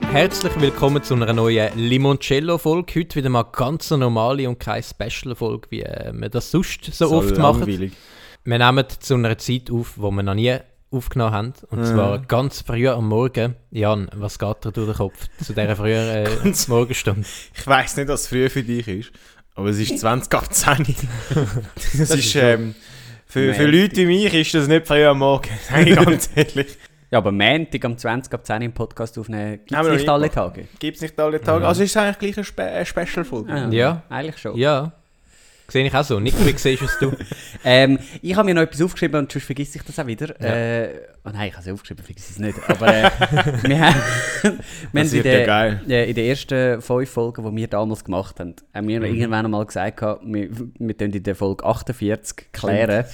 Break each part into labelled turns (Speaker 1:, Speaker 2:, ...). Speaker 1: Herzlich willkommen zu einer neuen Limoncello-Folge. Heute wieder mal ganz eine normale und keine Special-Folge, wie äh, wir das sonst so, oft machen.
Speaker 2: langweilig.
Speaker 1: Wir nehmen zu einer Zeit auf, wo wir noch nie aufgenommen haben. Und
Speaker 2: Ja.
Speaker 1: zwar ganz früh am Morgen. Jan, was geht dir durch den Kopf zu dieser frühen äh,
Speaker 2: Ganz-
Speaker 1: Morgenstunde?
Speaker 2: Ich weiss nicht, was früh für dich ist, aber es ist 20 ab 10. das, ist, ähm, für, für Leute wie mich ist das nicht früh am Morgen, sage ich ganz ehrlich.
Speaker 3: Ja, aber Montag am 20 ab 10 im Podcast aufnehmen, gibt
Speaker 2: Haben
Speaker 3: es
Speaker 2: wir
Speaker 3: nicht
Speaker 2: noch
Speaker 3: alle
Speaker 2: nicht
Speaker 3: Tage.
Speaker 2: Gibt es nicht alle Tage. Also ist es eigentlich gleich eine, Spe eine Special-Folge.
Speaker 1: Ja.
Speaker 3: Ah, Eigentlich schon.
Speaker 1: Ja, sehe ich auch so. Nick, wie siehst es du?
Speaker 3: Ähm, ich habe mir noch etwas aufgeschrieben und sonst vergesse ich das auch wieder. Äh, oh nein, ich habe es aufgeschrieben, vergesse es nicht. Aber äh, wir haben, wir haben
Speaker 2: Das
Speaker 3: in,
Speaker 2: wird ja
Speaker 3: der,
Speaker 2: geil.
Speaker 3: äh, in den ersten fünf Folgen, die wir damals gemacht haben, haben
Speaker 2: Mhm.
Speaker 3: wir irgendwann einmal gesagt, gehabt, wir, wir tun in der Folge 48 klären,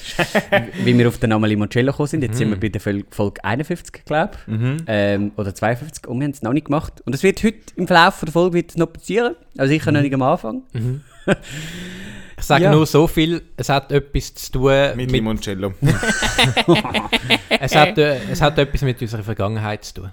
Speaker 3: wie wir auf den Namen Limoncello gekommen sind. Jetzt sind wir
Speaker 2: Mhm.
Speaker 3: bei der Fol- Folge 51, glaube ich. Ähm, oder 52 und wir haben es noch nicht gemacht. Und es wird heute im Verlauf der Folge wird es noch passieren. Also ich kann noch nicht am Anfang.
Speaker 1: Mhm. Ich sage
Speaker 3: Ja.
Speaker 1: nur so viel, es hat etwas zu tun
Speaker 2: Äh, Mit
Speaker 1: mit,
Speaker 2: Limoncello.
Speaker 1: es, hat, äh, es hat etwas mit unserer Vergangenheit zu tun.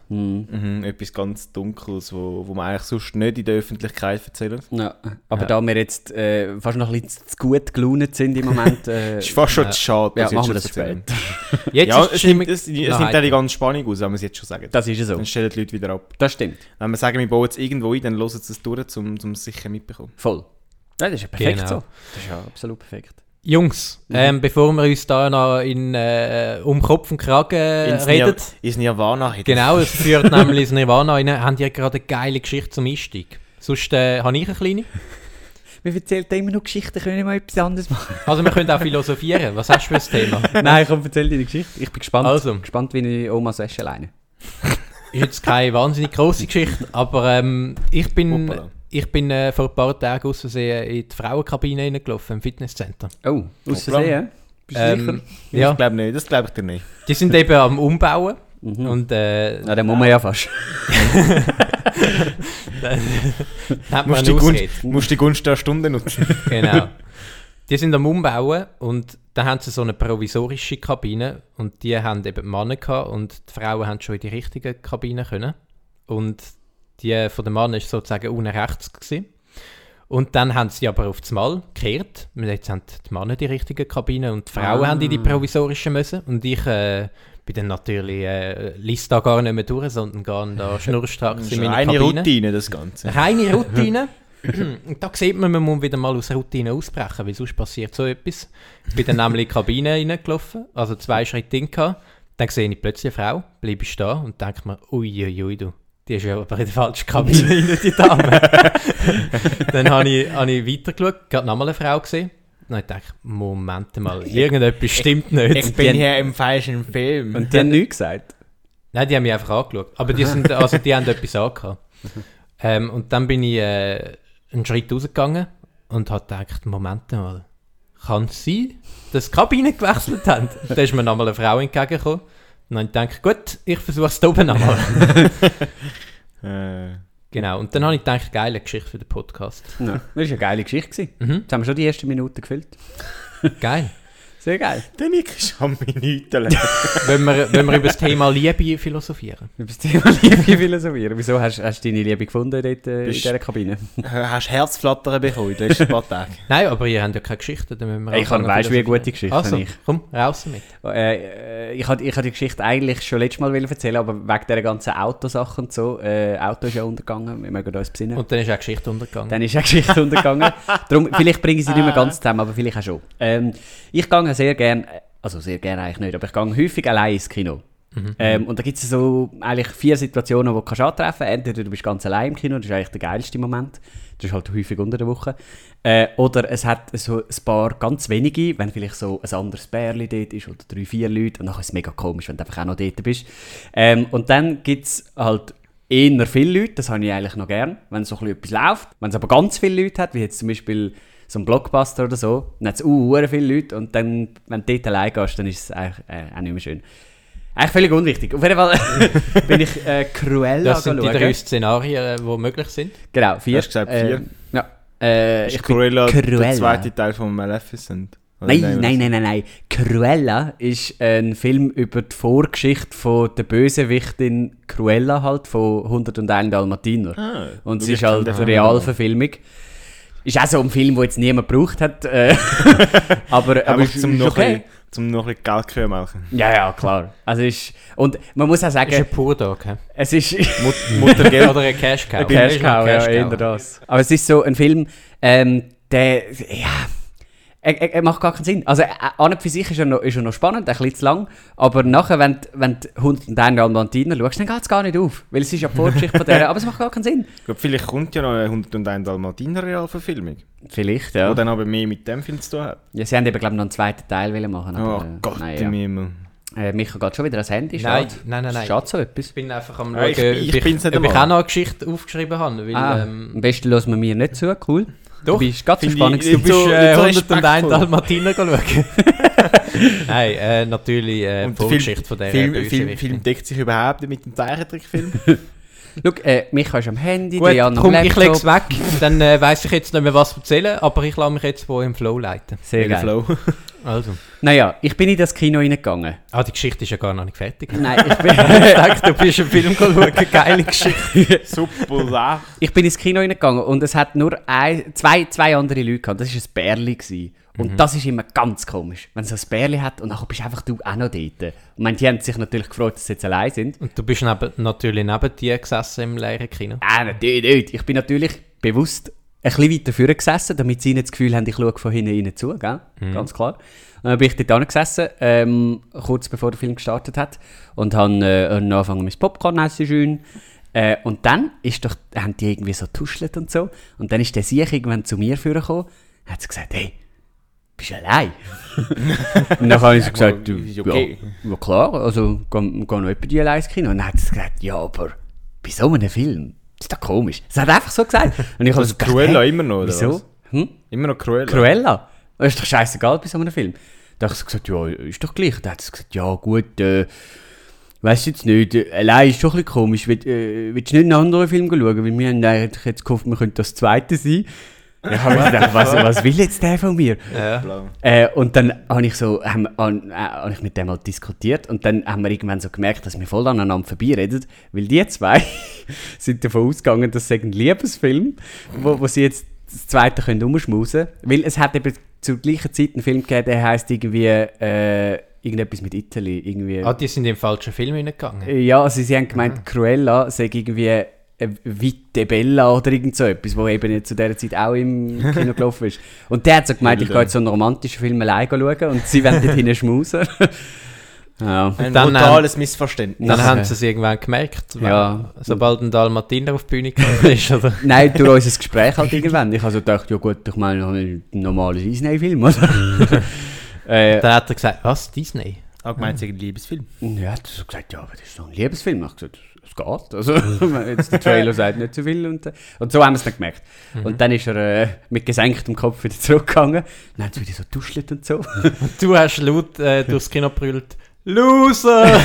Speaker 2: mhm, etwas ganz Dunkles, wo, wo man eigentlich sonst nicht in der Öffentlichkeit erzählt.
Speaker 3: Ja, aber
Speaker 1: Ja.
Speaker 3: da wir jetzt äh, fast noch ein bisschen zu gut gelaunt sind im Moment, äh,
Speaker 2: Ist fast schon zu schade,
Speaker 3: ja,
Speaker 2: dass
Speaker 3: machen wir
Speaker 2: jetzt
Speaker 3: das
Speaker 2: schon erzählen.
Speaker 3: später.
Speaker 1: Jetzt
Speaker 2: Ja,
Speaker 1: ist die
Speaker 2: es nimmt,
Speaker 1: Stimmung
Speaker 2: es, es
Speaker 1: noch
Speaker 2: nimmt ja die
Speaker 1: heiter.
Speaker 2: ganze Spannung aus, wenn wir es jetzt schon sagen.
Speaker 3: Das ist ja so.
Speaker 2: Dann stellen die Leute wieder ab.
Speaker 3: Das stimmt.
Speaker 2: Wenn wir sagen, wir bauen es irgendwo ein, dann hören sie es durch, um um es sicher mitbekommen.
Speaker 3: Voll. Ja, das ist ja perfekt
Speaker 1: Genau.
Speaker 3: so. Das ist ja absolut perfekt.
Speaker 1: Jungs, ähm, bevor wir uns da noch in, äh, um Kopf und Kragen äh,
Speaker 2: Ins
Speaker 1: reden,
Speaker 2: Nir- Ins Nirvana. hätte ich
Speaker 1: genau, es führt nämlich ins Nirvana rein, haben die gerade eine geile Geschichte zum Einstieg. Sonst äh, habe ich eine kleine.
Speaker 3: Wir erzählen immer noch Geschichten, können wir mal etwas anderes machen?
Speaker 1: Also wir können auch philosophieren. Was hast du für ein Thema?
Speaker 3: Nein, komm, erzähl deine Geschichte. Ich bin gespannt.
Speaker 1: Also.
Speaker 3: Gespannt, wie ich Omas Wäsche alleine.
Speaker 1: Ist jetzt keine wahnsinnig grosse Geschichte, aber ähm, ich bin,
Speaker 2: Hoppala.
Speaker 1: ich bin äh, vor ein paar Tagen aus Versehen in die Frauenkabine reingelaufen, im Fitnesscenter.
Speaker 3: Oh, aus
Speaker 2: Hoppla.
Speaker 3: Versehen? Bist du
Speaker 1: Ähm,
Speaker 3: sicher?
Speaker 1: ja,
Speaker 2: Ich glaube nicht, das glaube ich dir nicht.
Speaker 1: die sind eben am Umbauen
Speaker 3: Mhm.
Speaker 1: und äh,
Speaker 3: Na, dann muss man ja fast.
Speaker 1: hat man
Speaker 2: Musst
Speaker 1: eine
Speaker 2: die,
Speaker 1: Ausrede.
Speaker 2: Gunst, musst die Gunst der Stunde nutzen.
Speaker 1: genau. Die sind am Umbauen und dann haben sie so eine provisorische Kabine und die haben eben die Männer gehabt und die Frauen haben schon in die richtigen Kabinen können. Und die von den Mann war sozusagen unten rechts. Gewesen. Und dann haben sie aber auf das Mal gekehrt. Und Jetzt haben die Männer die richtigen Kabinen und die Frauen
Speaker 3: Ah.
Speaker 1: haben in die provisorischen müssen. Und ich äh, bin dann natürlich, äh, liess da gar nicht mehr durch, sondern gehe da schnurstracks
Speaker 2: Das
Speaker 1: in
Speaker 2: ist
Speaker 1: meine
Speaker 2: eine
Speaker 1: Kabine.
Speaker 2: Routine, das Ganze.
Speaker 1: Reine Routine. Und da sieht man, man muss wieder mal aus Routine ausbrechen, weil sonst passiert so etwas. Ich bin dann nämlich in die Kabine reingelaufen, also zwei Schritte hin gehabt. Dann sehe ich plötzlich eine Frau, bleibe ich stehen und denke mir, uiuiui, ui, du, die ist ja aber in der falschen Kabine rein, die Dame. dann habe ich, habe ich weitergeschaut, gerade nochmal eine Frau gesehen. Dann habe ich gedacht, Moment mal, irgendetwas stimmt nicht.
Speaker 3: bin
Speaker 2: hier im falschen Film.
Speaker 3: Und die haben nichts gesagt.
Speaker 1: Nein, die haben mich einfach angeschaut. Aber die, sind, also die haben etwas angehabt. Ähm, und dann bin ich äh, einen Schritt rausgegangen und habe gedacht, Moment mal, kann es sein, dass die Kabine gewechselt haben? da ist mir nochmal eine Frau entgegengekommen. Und dann habe ich gedacht, gut, ich versuche es da oben nochmal.
Speaker 2: Äh,
Speaker 1: genau, und dann habe ich gedacht, geile Geschichte für den Podcast.
Speaker 3: Ja. Das war eine geile Geschichte. gewesen.
Speaker 1: Mhm.
Speaker 3: Jetzt haben wir schon die ersten Minuten gefüllt.
Speaker 1: Geil.
Speaker 3: Sehr geil.
Speaker 2: der Nick ist am Minuten
Speaker 1: Wenn wir, wenn wir über das Thema Liebe philosophieren.
Speaker 3: Über das Thema Liebe philosophieren. Wieso hast hast du deine Liebe gefunden dort, äh, in
Speaker 2: Bist-
Speaker 3: dieser Kabine?
Speaker 2: Hast Herzflattern bekommen in den letzten paar Tagen?
Speaker 1: Nein, aber ihr habt ja keine Geschichte. Dann müssen wir
Speaker 3: Ich kann-
Speaker 1: anfangen
Speaker 3: weißt du, wie eine
Speaker 1: philosophieren.
Speaker 3: gute Geschichte
Speaker 1: also,
Speaker 3: habe ich.
Speaker 1: komm, raus damit.
Speaker 3: Äh, äh, ich hatte ich hab die Geschichte eigentlich schon letztes Mal wollen erzählen, aber wegen dieser ganzen Autosache und so. Äh, Auto ist ja untergegangen, wir mögen uns besinnen.
Speaker 1: Und dann ist auch die Geschichte untergegangen.
Speaker 3: dann ist ja Geschichte untergegangen. Darum, vielleicht bringe ich sie nicht mehr ganz zusammen, aber vielleicht auch schon. Ähm, ich gehe sehr gerne, also sehr gerne eigentlich nicht, aber ich gehe häufig allein ins Kino. Ähm, und da gibt es so eigentlich vier Situationen, die du kannst antreffen kannst. Entweder du bist ganz allein im Kino, das ist eigentlich der geilste Moment. Das ist halt häufig unter der Woche. Äh, oder es hat so ein paar ganz wenige, wenn vielleicht so ein anderes Bärli dort ist oder drei, vier Leute. Und dann ist es mega komisch, wenn du einfach auch noch dort bist. Ähm, und dann gibt es halt eher viele Leute, das habe ich eigentlich noch gern, wenn so ein bisschen etwas läuft. Wenn es aber ganz viele Leute hat, wie jetzt zum Beispiel so ein Blockbuster oder so, dann hat es uh, hure viele Leute und dann, wenn du dort allein gehst, dann ist es eigentlich, äh, auch nicht mehr schön. Eigentlich völlig unwichtig. Auf jeden Fall bin ich äh, Cruella
Speaker 1: Das sind die
Speaker 3: schauen.
Speaker 1: drei Szenarien, die möglich sind.
Speaker 3: Genau, vier.
Speaker 2: Du hast gesagt vier.
Speaker 3: Ähm, ja. Äh,
Speaker 2: Ist
Speaker 3: ich bin
Speaker 2: Cruella,
Speaker 3: Cruella.
Speaker 2: der zweite Teil von Maleficent. Oder
Speaker 3: Nein, nein, nein, nein, nein. Cruella ist ein Film über die Vorgeschichte von der Bösewichtin Cruella halt von 101 Dalmatiner.
Speaker 2: Ah,
Speaker 3: Und es
Speaker 2: du
Speaker 3: ist
Speaker 2: bist
Speaker 3: halt
Speaker 2: dann-
Speaker 3: eine Realverfilmung. Ist auch so ein Film, den jetzt niemand gebraucht hat. äh, aber
Speaker 2: Aber
Speaker 3: es
Speaker 2: zum
Speaker 3: ist
Speaker 2: noch ein bisschen- zum noch ein bisschen Geld zu machen.
Speaker 3: Ja, ja, klar. Also ist, und man muss auch
Speaker 1: Ist ein
Speaker 3: sagen,
Speaker 1: Purdog, hä?
Speaker 3: es ist...
Speaker 2: Mut- Mutter Geld.
Speaker 1: Oder ein Cash Cow.
Speaker 3: Cash
Speaker 1: Ist noch
Speaker 3: Cow,
Speaker 1: ein
Speaker 3: ja,
Speaker 1: Cash
Speaker 3: eher
Speaker 1: Cow.
Speaker 3: das. Aber es ist so ein Film, ähm, der, ja, er, er, er macht gar keinen Sinn. Also, äh, an und für sich ist er, noch, ist er noch spannend, ein bisschen zu lang, aber nachher, wenn, du- wenn du 101 Dalmatiner schaust, dann geht es gar nicht auf, weil es ist ja die Vorgeschichte von der, aber es macht gar keinen Sinn.
Speaker 2: Ich glaube, vielleicht kommt ja noch eine 101 Dalmatiner Realverfilmung.
Speaker 3: Vielleicht, ja.
Speaker 2: Die dann aber mehr mit dem Film zu tun hat.
Speaker 3: ja sie haben eben, glaube ich, noch einen zweiten Teil wollen machen
Speaker 2: Oh
Speaker 3: aber, äh,
Speaker 2: Gott
Speaker 3: nein,
Speaker 2: im Himmel.
Speaker 3: ja. äh, Micha geht schon wieder ans Handy,
Speaker 1: Nein,
Speaker 3: schade.
Speaker 1: nein, nein, nein.
Speaker 3: Schade so etwas.
Speaker 1: Ich bin einfach am
Speaker 2: Ja,
Speaker 1: schauen,
Speaker 2: ich- ich
Speaker 1: ob ich,
Speaker 2: bin's nicht
Speaker 1: ob ich
Speaker 2: einmal.
Speaker 1: auch noch eine Geschichte aufgeschrieben habe. Weil,
Speaker 3: ah,
Speaker 1: ähm,
Speaker 3: am besten hören wir mir nicht zu, cool.
Speaker 1: Doch.
Speaker 3: du bist gerade so
Speaker 2: Finde
Speaker 3: spannend.
Speaker 2: ich-
Speaker 1: du bist
Speaker 3: gewesen.
Speaker 2: bist, äh,
Speaker 1: äh,
Speaker 2: 101
Speaker 1: 101 Dalmatiner schauen. Nein, äh, natürlich äh, die
Speaker 2: der
Speaker 1: Vorgeschichte von der
Speaker 2: Film,
Speaker 1: Bösewichtin.
Speaker 2: Film, Film deckt sich überhaupt nicht mit dem Zeichentrickfilm.
Speaker 3: Schau, äh, Micha ist am Handy,
Speaker 1: Gut,
Speaker 3: Diana am
Speaker 1: komm, ich
Speaker 3: Laptop.
Speaker 1: leg's weg. Dann äh, weiss ich jetzt nicht mehr, was zu erzählen, aber ich lasse mich jetzt wohl im Flow leiten.
Speaker 3: Sehr
Speaker 2: In den
Speaker 3: geil.
Speaker 2: Flow.
Speaker 3: Oh,
Speaker 1: Also.
Speaker 3: Naja, ich bin in das Kino reingegangen.
Speaker 1: Ah, die Geschichte ist ja gar noch nicht fertig.
Speaker 3: Nein, ich
Speaker 1: ich
Speaker 3: bin,
Speaker 1: dachte, du bist einen Film schauen, geile Geschichte.
Speaker 2: Super Sache.
Speaker 3: ich bin ins Kino reingegangen und es hat nur ein, zwei, zwei andere Leute gehabt. Das war ein Bärli. Gewesen. Und
Speaker 1: Mhm.
Speaker 3: das ist immer ganz komisch, wenn es so ein Bärli hat und dann bist einfach du auch noch dort. Und meine, die haben sich natürlich gefreut, dass sie jetzt allein sind.
Speaker 1: Und du bist neben, natürlich neben dir gesessen im leeren Kino.
Speaker 3: Ah, natürlich nicht. Ich bin natürlich bewusst ein bisschen weiter vorne gesessen, damit sie nicht das Gefühl haben, ich schaue von hinten ihnen zu, gell?
Speaker 2: Mhm.
Speaker 3: ganz klar. Und dann bin ich dort hinten gesessen, ähm, kurz bevor der Film gestartet hat, und habe äh, hab noch angefangen, mein Popcorn essen schön. Äh, und dann ist doch, haben die irgendwie so tuschelt und so. Und dann ist der Sieg irgendwann zu mir vorgekommen, hat sie gesagt, hey, bist du allein? und dann habe ich so gesagt,
Speaker 2: Ist okay.
Speaker 3: ja, ja klar, also gehen geh noch etwa die allein ins Kino. Und dann hat sie gesagt, ja, aber bei so einem Film, das ist doch komisch. Sie hat einfach so gesagt. Und ich habe so gedacht,
Speaker 2: Cruella
Speaker 3: hä,
Speaker 2: immer noch, oder
Speaker 3: Wieso?
Speaker 2: was?
Speaker 3: Hm?
Speaker 2: Immer noch Cruella.
Speaker 3: Cruella? Das ist doch scheißegal bei so einem Film. Da habe ich so gesagt, ja, ist doch gleich. Dann hat sie gesagt, ja gut, äh, weiss jetzt nicht, äh, allein ist schon ein bisschen komisch. Will, äh, willst du nicht einen anderen Film schauen? Weil wir haben eigentlich jetzt gehofft, wir könnten das zweite sein. Dann habe ich gedacht, was, was will jetzt der von mir?
Speaker 1: Ja.
Speaker 2: Blau.
Speaker 3: Äh, und dann habe ich, so, haben, han, äh, han ich mit dem halt diskutiert und dann haben wir irgendwann so gemerkt, dass wir voll aneinander vorbeireden, weil die zwei sind davon ausgegangen, dass es ein Liebesfilm wo, wo sie jetzt das zweite können umschmusen können. Weil es hat eben zur gleichen Zeit einen Film gegeben, der heisst irgendwie äh, irgendetwas mit Italy. Irgendwie.
Speaker 1: Ah, die sind in den falschen Film hineingegangen.
Speaker 3: Ja, also sie haben gemeint, Cruella sei irgendwie äh, Vite Bella oder irgend so etwas, wo eben jetzt zu dieser Zeit auch im Kino gelaufen ist. Und der hat so gemeint, ich gehe jetzt so einen romantischen Film alleine schauen und sie werden dort hinten schmusen. ja.
Speaker 2: Ein
Speaker 1: dann, ähm,
Speaker 2: totales Missverständnis.
Speaker 1: Dann
Speaker 3: Ja.
Speaker 1: haben sie es irgendwann gemerkt, weil-
Speaker 3: Ja.
Speaker 1: sobald ein Dalmatiner auf die Bühne gekommen ist. Oder?
Speaker 3: Nein, durch unser Gespräch halt irgendwann. Ich habe so gedacht, ja gut, ich meine, ein normales Disney-Film, oder? äh,
Speaker 1: Dann hat er gesagt, was, Disney?
Speaker 2: Allgemein ein Liebesfilm.
Speaker 3: und er hat so gesagt, ja, aber das ist doch ein Liebesfilm. Ich habe gesagt, es geht. Also, jetzt der Trailer sagt nicht so viel. Und, äh, und so haben wir es dann gemerkt.
Speaker 1: Mhm.
Speaker 3: Und dann ist er äh, mit gesenktem Kopf wieder zurückgegangen. Dann hat es wieder so tuschelt und so.
Speaker 1: Und du hast laut äh, durchs Kino brüllt, Loser!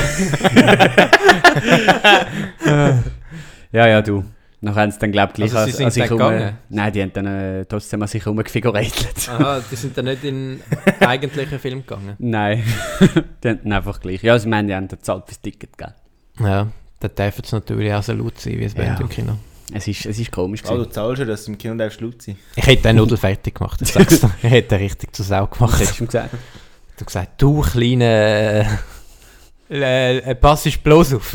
Speaker 3: Ja, ja, du. Nachher haben sie dann, glaube ich, gleich
Speaker 1: Also sie sind dann
Speaker 3: rum-
Speaker 1: gegangen?
Speaker 3: Nein, die haben dann äh, trotzdem an sich herumgefiguriert.
Speaker 1: Aha, die sind dann nicht in den eigentlichen Film gegangen.
Speaker 3: Nein, die haben dann einfach gleich. Ja, sie meinen, die haben dann zahlt fürs Ticket, gell?
Speaker 1: Ja, dann dürfen sie natürlich auch so laut sein, wie es
Speaker 3: Ja.
Speaker 1: ja. im Kino.
Speaker 3: Es ist, es ist komisch gewesen.
Speaker 2: Also, du zahlst ja, dass du im Kino darfst laut sein.
Speaker 1: Ich hätte den Nudel fertig gemacht, ich sag's dir. Ich hätte den richtig zur Sau
Speaker 3: Was
Speaker 1: gemacht.
Speaker 3: hättest du ihm gesagt?
Speaker 1: Du hast gesagt, du kleine. Äh, äh, pass ist bloß auf.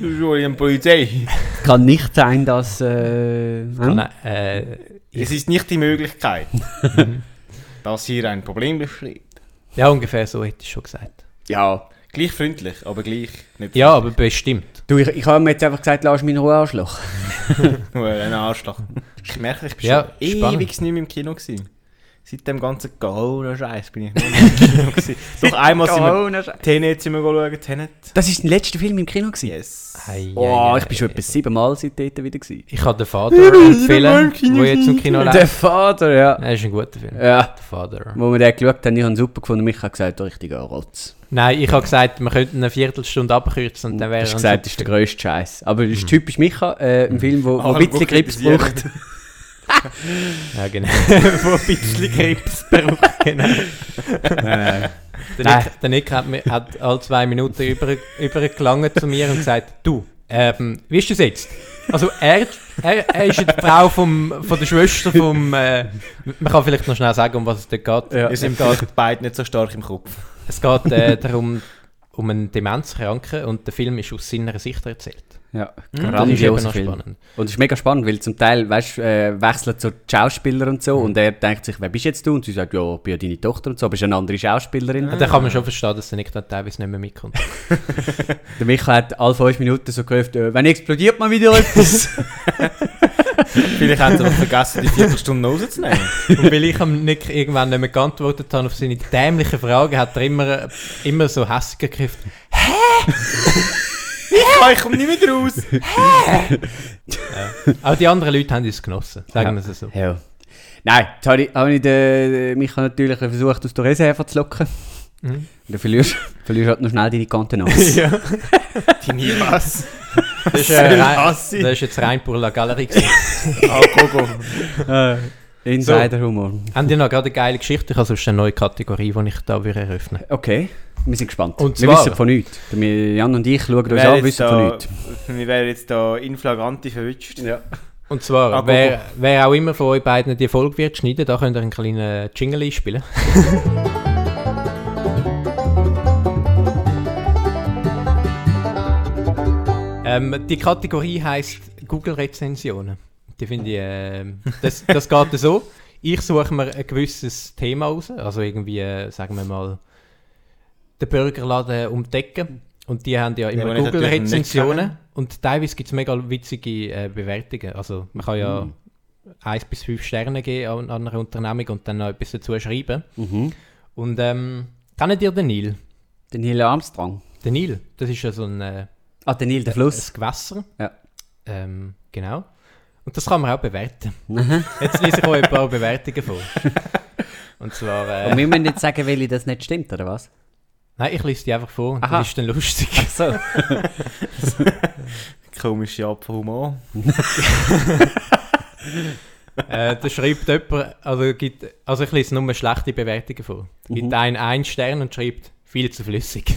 Speaker 2: Du bist wohl in der Polizei.
Speaker 3: Kann nicht sein, dass... Äh, hm?
Speaker 1: Nein, äh,
Speaker 2: Es ist nicht die Möglichkeit, dass hier ein Problem besteht.
Speaker 1: ja, ungefähr so hätte ich schon gesagt.
Speaker 3: Ja,
Speaker 2: Gleich freundlich, aber gleich nicht
Speaker 1: Ja, aber bestimmt.
Speaker 3: Du, ich, ich habe ihm jetzt einfach gesagt, lass mich in Ruhe, Arschloch.
Speaker 2: nur ein Arschloch. Ich merke, ich bin
Speaker 1: Ja,
Speaker 2: schon
Speaker 1: spannend.
Speaker 2: ewig nicht mehr im Kino gewesen. Seit dem ganzen Corona-Scheiß bin ich nicht mehr im Kino gewesen. Doch einmal sind wir Tenet sind wir schauen, Tenet.
Speaker 3: Das ist der letzte Film im Kino. Gewesen.
Speaker 2: Yes.
Speaker 1: Ei,
Speaker 3: Oh,
Speaker 1: ei,
Speaker 3: ich bin schon
Speaker 1: ei,
Speaker 3: etwa siebenmal seit dort wieder. Gewesen.
Speaker 1: Ich habe den Vater empfehlen, der jetzt im Kino
Speaker 3: Der
Speaker 1: läuft.
Speaker 3: Vater, ja.
Speaker 1: Er ist ein guter Film.
Speaker 3: Ja.
Speaker 1: Der Vater.
Speaker 3: Wo wir den geschaut haben, ich habe ihn super gefunden. Mich hat gesagt, der richtige Rotz.
Speaker 1: Nein, ich habe gesagt, wir könnten eine Viertelstunde abkürzen und dann
Speaker 3: Du
Speaker 1: wäre
Speaker 3: hast
Speaker 1: Mhm.
Speaker 3: gesagt, das ist der grösste Scheiß. Aber das ist typisch Micha, äh, ein Film, der
Speaker 2: Ah,
Speaker 3: ein bisschen
Speaker 2: wo
Speaker 3: Grips
Speaker 2: kritisieren.
Speaker 3: braucht.
Speaker 1: Ja, genau. Wo ein bisschen Grips braucht. Genau.
Speaker 3: Äh,
Speaker 1: Der
Speaker 3: Nein.
Speaker 1: Nick, der Nick hat, mir, hat alle zwei Minuten über, übergelangen zu mir und gesagt, du, ähm, wie ist das jetzt? Also er, er, er ist ja die Frau vom, von der Schwester vom... Äh, man kann vielleicht noch schnell sagen, um was es dort geht.
Speaker 3: Ja.
Speaker 2: Wir sind vielleicht beide nicht so stark im Kopf.
Speaker 1: Es geht äh, darum, um einen Demenzkranken und der Film ist aus seiner Sicht erzählt.
Speaker 3: ja,
Speaker 1: Mhm. Das ist eben
Speaker 3: grandioser
Speaker 1: noch
Speaker 3: Film.
Speaker 1: spannend.
Speaker 3: Und es ist mega spannend, weil zum Teil weißt, äh, wechseln zu Schauspielern und
Speaker 1: Mhm.
Speaker 3: so und er denkt sich, wer bist jetzt du? Und sie sagt, ja, ich bin ja deine Tochter und so, aber es ist eine andere Schauspielerin.
Speaker 1: Und dann kann man schon verstehen, dass der Nick dann teilweise nicht mehr mitkommt.
Speaker 3: Der Micha hat alle fünf Minuten so gehofft, äh, wenn explodiert man wieder etwas.
Speaker 2: Vielleicht haben sie noch vergessen, die Viertelstunde rauszunehmen.
Speaker 1: Und weil ich am Nick irgendwann nicht mehr geantwortet habe auf seine dämlichen Fragen, hat er immer, immer so hässlich gekriegt.
Speaker 2: Ah, ich komme nicht mehr raus.
Speaker 1: Auch die anderen Leute haben es genossen, sagen wir es so.
Speaker 3: ja. Nein, jetzt habe ich, habe ich den Micha natürlich versucht, aus der Reserve zu locken.
Speaker 1: Mhm.
Speaker 3: Und dann verlierst verlierst halt noch schnell deine Kontenance.
Speaker 1: Ja.
Speaker 2: Die nie was.
Speaker 1: Das ist,
Speaker 2: Soll
Speaker 1: äh, rein, das
Speaker 2: das sein?
Speaker 1: ist jetzt rein pur La Galerie. gewesen.
Speaker 2: Ah, Gogo.
Speaker 3: äh, Insider-Humor.
Speaker 1: Haben die noch gerade eine geile Geschichte? Ich habe sonst eine neue Kategorie, die ich da würde eröffnen
Speaker 3: Okay, wir sind gespannt.
Speaker 1: Und
Speaker 3: wir
Speaker 1: zwar-
Speaker 3: wissen von nichts. Wir- Jan und ich schauen
Speaker 2: Wir
Speaker 3: uns
Speaker 2: wären
Speaker 3: an,
Speaker 2: jetzt
Speaker 3: wissen
Speaker 2: da-
Speaker 3: von nichts.
Speaker 2: Wir wären jetzt da inflagranti verwünscht. Ja.
Speaker 1: Und zwar,
Speaker 2: Ah, go,
Speaker 1: wer, wer auch immer von euch beiden die Folge wird schneiden, da könnt ihr einen kleinen Jingle einspielen. ähm, die Kategorie heißt Google-Rezensionen. Die finde ich, ähm, das, das geht so. Ich suche mir ein gewisses Thema raus, also irgendwie, äh, sagen wir mal, den Burgerladen um die Ecke. Und die haben ja
Speaker 2: Den
Speaker 1: immer
Speaker 2: wir natürlich nicht
Speaker 1: Google-Rezensionen.
Speaker 2: kennen.
Speaker 1: Und teilweise gibt es mega witzige äh, Bewertungen. Also man kann ja 1 bis 5 Sterne geben an, an einer Unternehmung und dann noch etwas dazu schreiben.
Speaker 3: Mhm.
Speaker 1: Und ähm, kennt ihr den Nil?
Speaker 3: Den Neil Armstrong.
Speaker 1: Der Nil, das ist ja so ein, äh,
Speaker 3: Ah, der Neil, der
Speaker 1: ein
Speaker 3: Fluss.
Speaker 1: Gewässer.
Speaker 3: Ja.
Speaker 1: Ähm, genau. Und das kann man auch bewerten.
Speaker 3: Mhm.
Speaker 1: Jetzt lese ich euch ein paar Bewertungen vor. Und zwar... Äh,
Speaker 3: Und wir müssen jetzt sagen, weil das nicht stimmt, oder was?
Speaker 1: Nein, ich lese die einfach vor und
Speaker 3: Aha.
Speaker 1: das ist dann lustig.
Speaker 3: Ach so.
Speaker 2: Komische Art von Humor.
Speaker 1: äh, da schreibt jemand, also, gibt, also ich lese nur schlechte Bewertungen vor. Gibt
Speaker 3: Mhm.
Speaker 1: einen einen Stern und schreibt, viel zu flüssig.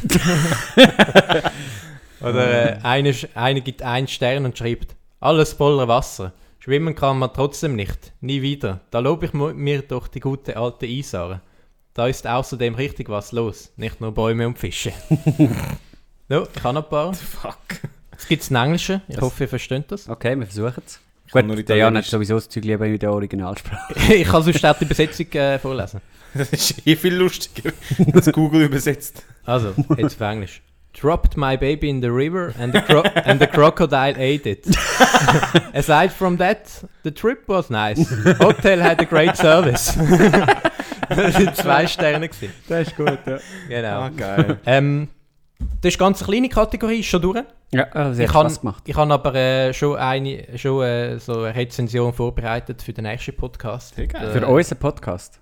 Speaker 1: Oder äh, einer eine gibt einen Stern und schreibt, alles voller Wasser. Schwimmen kann man trotzdem nicht, nie wieder. Da lobe ich mu- mir doch die gute alte Isar. Da ist außerdem richtig was los, nicht nur Bäume und Fische. no, ich habe noch ein paar.
Speaker 2: Fuck.
Speaker 1: Es gibt es in Englischen, ich hoffe, ihr versteht das.
Speaker 3: Okay, wir versuchen es.
Speaker 2: kann nur
Speaker 3: Gut, der Jan hat
Speaker 2: Italienisch.
Speaker 3: sowieso das Zeug lieber in der Originalsprache.
Speaker 1: ich kann sonst auch die Besetzung äh, vorlesen.
Speaker 2: Das ist eh viel lustiger, als Google übersetzt.
Speaker 1: Also, jetzt auf Englisch. Dropped my baby in the river and the, cro and the crocodile ate it. Aside from that, the trip was nice. Hotel had a great service. das sind zwei Sterne. Gewesen.
Speaker 3: Das ist gut, ja. Ah.
Speaker 1: Genau.
Speaker 2: Ah, geil.
Speaker 1: Ähm, das ist ganz eine kleine Kategorie, ist schon durch.
Speaker 3: Ja, aber sehr
Speaker 1: Ich kann-
Speaker 3: Spaß gemacht.
Speaker 1: Ich habe aber äh, schon, eine, schon äh, so eine Rezension vorbereitet für den nächsten Podcast.
Speaker 2: Sehr geil.
Speaker 1: Und, äh,
Speaker 3: Für unseren Podcast.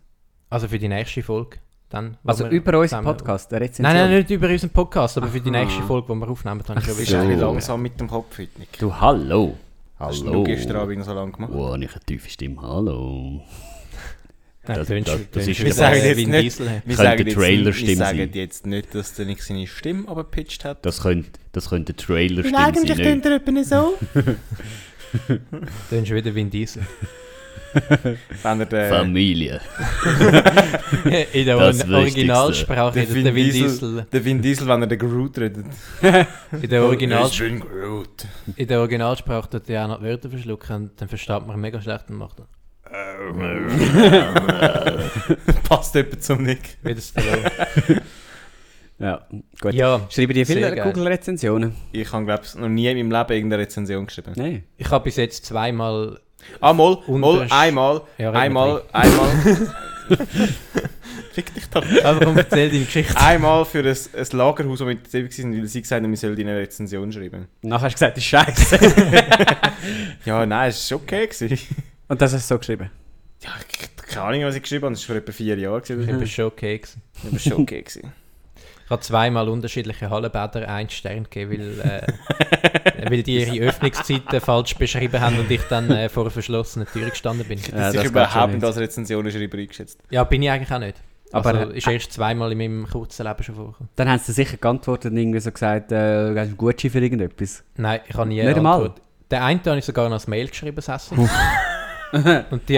Speaker 1: Also für die nächste Folge. Dann, wo
Speaker 3: Also
Speaker 1: wir
Speaker 3: über unseren
Speaker 1: zusammen-
Speaker 3: Podcast, eine Rezension.
Speaker 1: Nein, nein, nicht über unseren Podcast, aber für die
Speaker 3: Aha.
Speaker 1: nächste Folge, die wir aufnehmen, habe ich schon
Speaker 2: Du bist
Speaker 1: wieder-
Speaker 2: ein bisschen
Speaker 3: So.
Speaker 2: langsam mit dem Kopf heute, Nick.
Speaker 3: Du, hallo.
Speaker 2: Hast du gestern Abend noch so lange gemacht?
Speaker 3: Oh, ich eine tiefe Stimme, hallo.
Speaker 1: Nein,
Speaker 3: Das-
Speaker 1: tönt-
Speaker 3: das-
Speaker 1: tönt
Speaker 3: das ist
Speaker 1: wie der
Speaker 2: Wir
Speaker 3: wieder-
Speaker 2: sagen jetzt
Speaker 1: Vin
Speaker 2: nicht-
Speaker 1: Diesel.
Speaker 2: Wir
Speaker 3: Könnte
Speaker 2: sagen, jetzt,
Speaker 3: Trailerstimme
Speaker 2: wir sagen
Speaker 3: sein.
Speaker 2: jetzt nicht, dass der Nick seine Stimme aber gepitcht hat.
Speaker 3: Das könnte, das könnte ein Trailer
Speaker 2: er etwa so.
Speaker 1: Dann ist wieder Vin Diesel.
Speaker 2: Wenn er den,
Speaker 3: Familie.
Speaker 1: In der
Speaker 3: Das
Speaker 1: Or- Originalsprache
Speaker 2: der,
Speaker 1: redet
Speaker 2: Vin
Speaker 1: der Vin
Speaker 2: Diesel,
Speaker 1: Diesel.
Speaker 2: der Vin Diesel, wenn er den Groot redet.
Speaker 1: In der, Original
Speaker 2: Ich bin Groot.
Speaker 1: in der Originalsprache tut er auch noch die Wörter verschlucken und dann versteht man mega schlecht und macht das.
Speaker 2: Passt etwa zum Nick.
Speaker 1: Wie das Stallone.
Speaker 3: Ja, gut.
Speaker 1: Ja,
Speaker 3: Schreibe dir
Speaker 1: Sehr
Speaker 3: viele
Speaker 1: geil.
Speaker 3: Google-Rezensionen.
Speaker 2: Ich habe, glaube ich, noch nie in meinem Leben irgendeine Rezension geschrieben.
Speaker 3: Nein.
Speaker 1: ich habe bis jetzt zweimal.
Speaker 2: Ah, mal, mal,
Speaker 1: Untersch-
Speaker 2: einmal,
Speaker 1: Ja, red
Speaker 2: einmal,
Speaker 1: mit
Speaker 2: einmal. Fick dich doch.
Speaker 1: drei. Aber komm, erzähl deine Geschichte.
Speaker 2: Einmal für ein, ein Lagerhaus, wo wir dabei waren, weil sie gesagt haben, wir sollen eine Rezension schreiben.
Speaker 3: Nachher hast du gesagt, das ist scheiße.
Speaker 2: Ja, nein, es war okay. Gewesen.
Speaker 3: Und das hast du so geschrieben.
Speaker 2: Ja,
Speaker 3: Mhm.
Speaker 2: ich- keine Ahnung, was ich geschrieben habe. Das war vor etwa vier Jahren.
Speaker 1: Ich
Speaker 2: Gewesen.
Speaker 1: bin schon okay. gewesen.
Speaker 2: Das war schon okay. Gewesen.
Speaker 1: Ich gerade zweimal unterschiedliche Hallenbäder einen Stern gegeben, weil, äh, weil die ihre Öffnungszeiten falsch beschrieben haben und ich dann äh, vor einer verschlossenen Tür gestanden bin.
Speaker 3: Ja,
Speaker 2: das
Speaker 3: das
Speaker 2: ist
Speaker 3: geht
Speaker 2: überhaupt
Speaker 3: schon
Speaker 2: nicht
Speaker 3: nicht.
Speaker 2: als Rezensionsschreiber eingeschätzt.
Speaker 1: Ja, bin ich eigentlich auch nicht.
Speaker 3: Aber, äh,
Speaker 1: Aber also, ist erst zweimal in meinem kurzen Leben schon vorgekommen.
Speaker 3: Dann haben sie sicher geantwortet und irgendwie so gesagt, äh, hast du einen Gutschein für irgendetwas?
Speaker 1: Nein, ich habe nie
Speaker 3: Nicht einmal?
Speaker 1: Antwort. Den einen habe ich sogar noch als Mail geschrieben, das Essen. Und die,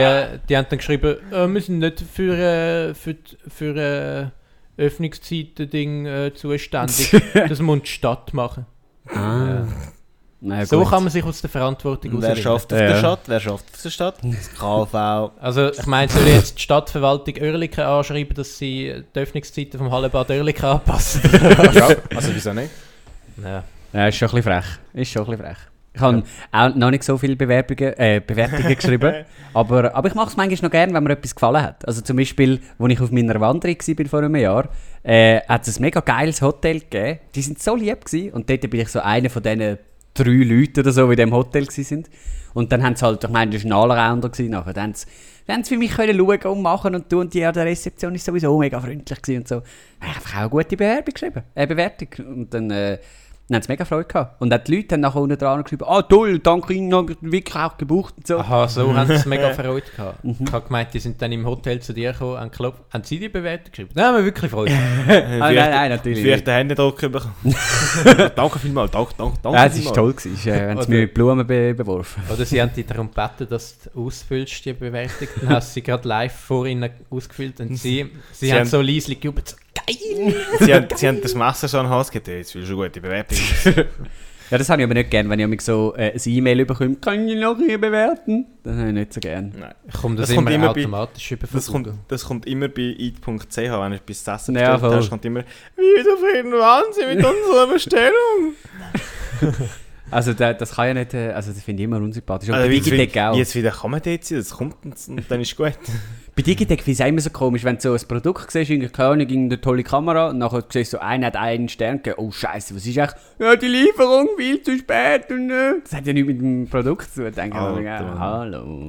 Speaker 1: die haben dann geschrieben, äh, wir sind nicht für, äh, für, die- für äh, Öffnungszeiten-Ding äh, zuständig. das muss die Stadt machen.
Speaker 3: Ah. Na ja,
Speaker 1: so
Speaker 3: gut.
Speaker 1: kann man sich aus der Verantwortung
Speaker 2: Wer
Speaker 1: rauswinden.
Speaker 2: schafft auf
Speaker 3: Ja.
Speaker 2: der Stadt? Wer schafft auf der Stadt? Das KV.
Speaker 1: Also ich meine, soll ich jetzt die Stadtverwaltung Oerlikon anschreiben, dass sie die Öffnungszeiten vom Hallenbad Oerlikon anpassen?
Speaker 2: ja, also wieso nicht?
Speaker 1: ja.
Speaker 3: Ja, ist schon ein bisschen frech. Ist schon ein bisschen frech. Ich habe auch noch nicht so viele Bewerbungen, äh, Bewertungen geschrieben, aber, aber ich mache es manchmal noch gerne, wenn mir etwas gefallen hat. Also zum Beispiel, als ich auf meiner Wanderung war vor einem Jahr, äh, hat es ein mega geiles Hotel gegeben. Die sind so lieb gewesen. und dort bin ich so einer von diesen drei Leuten oder so, die in diesem Hotel waren. Und dann haben sie halt, ich meine, das war ein Allrounder gewesen nachher. Dann haben sie, dann haben sie für mich können schauen und machen und tun. Und die an der Rezeption war sowieso mega freundlich gewesen und so. Ich habe einfach auch eine gute Bewerbung geschrieben, äh, Bewertung. Und dann... Äh, dann haben sie mega Freude gehabt. Und auch die Leute haben nachher unten dran geschrieben, ah toll, danke Ihnen, haben wir wirklich auch gebucht und so.
Speaker 1: Aha, so haben sie es mega verrückt gehabt.
Speaker 2: Mhm.
Speaker 1: Ich habe gemeint, die sind dann im Hotel zu dir gekommen, haben geklopft. Haben sie die Bewertung geschrieben? Nein, wir haben wirklich Freude.
Speaker 3: Ah, nein, nein, natürlich
Speaker 2: Vielleicht
Speaker 3: nicht.
Speaker 2: den Händedruck bekommen. danke vielmals, danke, danke, danke
Speaker 3: Ja, es war
Speaker 2: vielmals.
Speaker 3: toll, gewesen, äh, haben sie
Speaker 1: Oder-
Speaker 3: mich mit Blumen be beworfen.
Speaker 1: Oder sie haben dich darum gebeten, dass du ausfüllst, die Bewertung. Dann hast du sie gerade live vor ihnen ausgefüllt und sie, sie,
Speaker 2: Sie
Speaker 1: haben
Speaker 2: haben-
Speaker 1: so leise gejubelt. So, geil!
Speaker 2: Sie haben, sie haben das Messer so an den Hals gegeben, jetzt willst du eine gute Bewertung.
Speaker 3: Ja, das habe ich aber nicht gern, wenn ich mich so äh, ein E-Mail bekomme, kann ich noch hier bewerten? Das habe ich nicht so gern.
Speaker 2: Nein.
Speaker 1: Kommt das,
Speaker 2: Das kommt
Speaker 1: immer,
Speaker 2: immer bei-
Speaker 1: automatisch über
Speaker 2: Das
Speaker 1: von
Speaker 2: kommt,
Speaker 1: Google?
Speaker 2: das kommt immer bei eat.ch, wenn du bis Essen
Speaker 3: Ja,
Speaker 2: bestellt
Speaker 3: voll.
Speaker 2: hast, kommt immer «Wie zufrieden waren Sie mit unserer Bestellung?»
Speaker 3: Also da, das kann ja nicht, äh, also das finde ich immer unsympathisch. Und
Speaker 2: also,
Speaker 3: bei
Speaker 2: wie
Speaker 3: Digitec
Speaker 2: zufrieden-
Speaker 3: auch.
Speaker 2: wie jetzt wieder kann man dort sein, das kommt und, und dann ist gut.
Speaker 3: Bei Digitec finde ich es auch immer so komisch, wenn du so ein Produkt siehst, irgendwie keine Ahnung, irgendeine tolle Kamera, und nachher siehst du so, einer hat einen Stern gegeben, oh scheiße, was ist echt? Ja, die Lieferung viel zu spät und äh. Das hat ja nichts mit dem Produkt zu tun, denke ich mir,
Speaker 2: Alter.
Speaker 3: ja, hallo.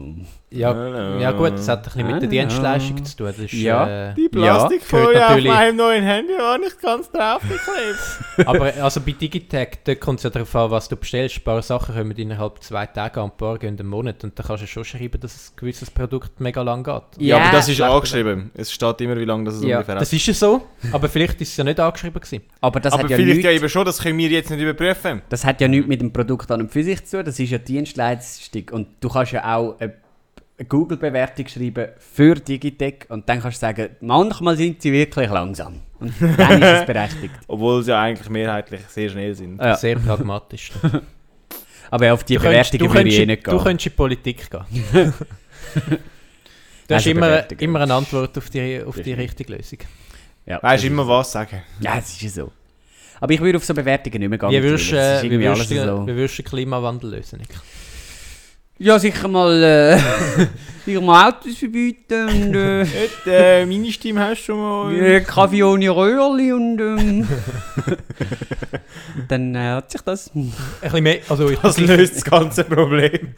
Speaker 1: Ja,
Speaker 2: Hallo.
Speaker 1: ja gut, das hat ein bisschen mit der
Speaker 3: Ah.
Speaker 1: Dienstleistung zu tun. Das ist,
Speaker 3: Ja.
Speaker 1: äh,
Speaker 2: Die
Speaker 1: gehört
Speaker 2: Plastikfolie auf
Speaker 1: natürlich.
Speaker 2: meinem neuen Handy war nicht ganz draufgeklebt.
Speaker 1: Aber also bei Digitec, da kommt es ja darauf an, was du bestellst. Ein paar Sachen kommen innerhalb zwei Tage an, ein paar gehen einen Monat. Und da kannst du schon schreiben, dass ein gewisses Produkt mega lang geht.
Speaker 2: ja, aber das ist
Speaker 1: schlecht.
Speaker 2: angeschrieben. Es steht immer, wie lange das
Speaker 3: Ja,
Speaker 2: ungefähr
Speaker 1: Das ist ja so, aber vielleicht ist es ja nicht angeschrieben gewesen.
Speaker 3: Aber das
Speaker 2: Aber
Speaker 3: hat ja
Speaker 2: vielleicht ja
Speaker 3: nichts...
Speaker 2: eben schon, das können wir jetzt nicht überprüfen.
Speaker 3: Das hat ja nichts mit dem Produkt an und für sich zu tun, das ist ja Dienstleistung. Und du kannst ja auch eine eine Google-Bewertung schreiben für Digitec und dann kannst du sagen, manchmal sind sie wirklich langsam. Und dann ist es berechtigt.
Speaker 2: Obwohl sie ja eigentlich mehrheitlich sehr schnell sind.
Speaker 3: Ja.
Speaker 1: Sehr pragmatisch.
Speaker 3: Aber auf die
Speaker 1: Du könntest-
Speaker 3: Bewertungen
Speaker 1: du
Speaker 3: würde ich
Speaker 1: könntest-
Speaker 3: eh nicht
Speaker 1: Du
Speaker 3: gehen.
Speaker 1: könntest in die Politik gehen. du hast
Speaker 3: Also
Speaker 1: immer,
Speaker 3: Bewertungen.
Speaker 1: immer eine Antwort auf die, auf die
Speaker 3: Richtig.
Speaker 1: richtige Lösung.
Speaker 3: Ja,
Speaker 2: Weißt
Speaker 3: das
Speaker 2: immer
Speaker 3: ist
Speaker 2: was sagen.
Speaker 3: so. Ja, es ist ja so. Aber ich würde auf so Bewertungen nicht mehr gehen.
Speaker 1: Wie würdest
Speaker 3: mittlerweile. Das
Speaker 1: äh,
Speaker 3: ist
Speaker 1: wie
Speaker 3: irgendwie
Speaker 1: würdest
Speaker 3: alles
Speaker 1: du
Speaker 3: so.
Speaker 1: wie würdest du den Klimawandel lösen? Nick?
Speaker 3: Ja, sicher mal, äh, sicher mal Autos verbieten und äh,
Speaker 2: Nicht, äh, meine Stimme hast du schon mal.
Speaker 3: äh, Kaffee ohne Röhrli und ähm, dann äh, hat sich das.
Speaker 1: Ein bisschen mehr, also ich,
Speaker 2: Das löst das ganze Problem.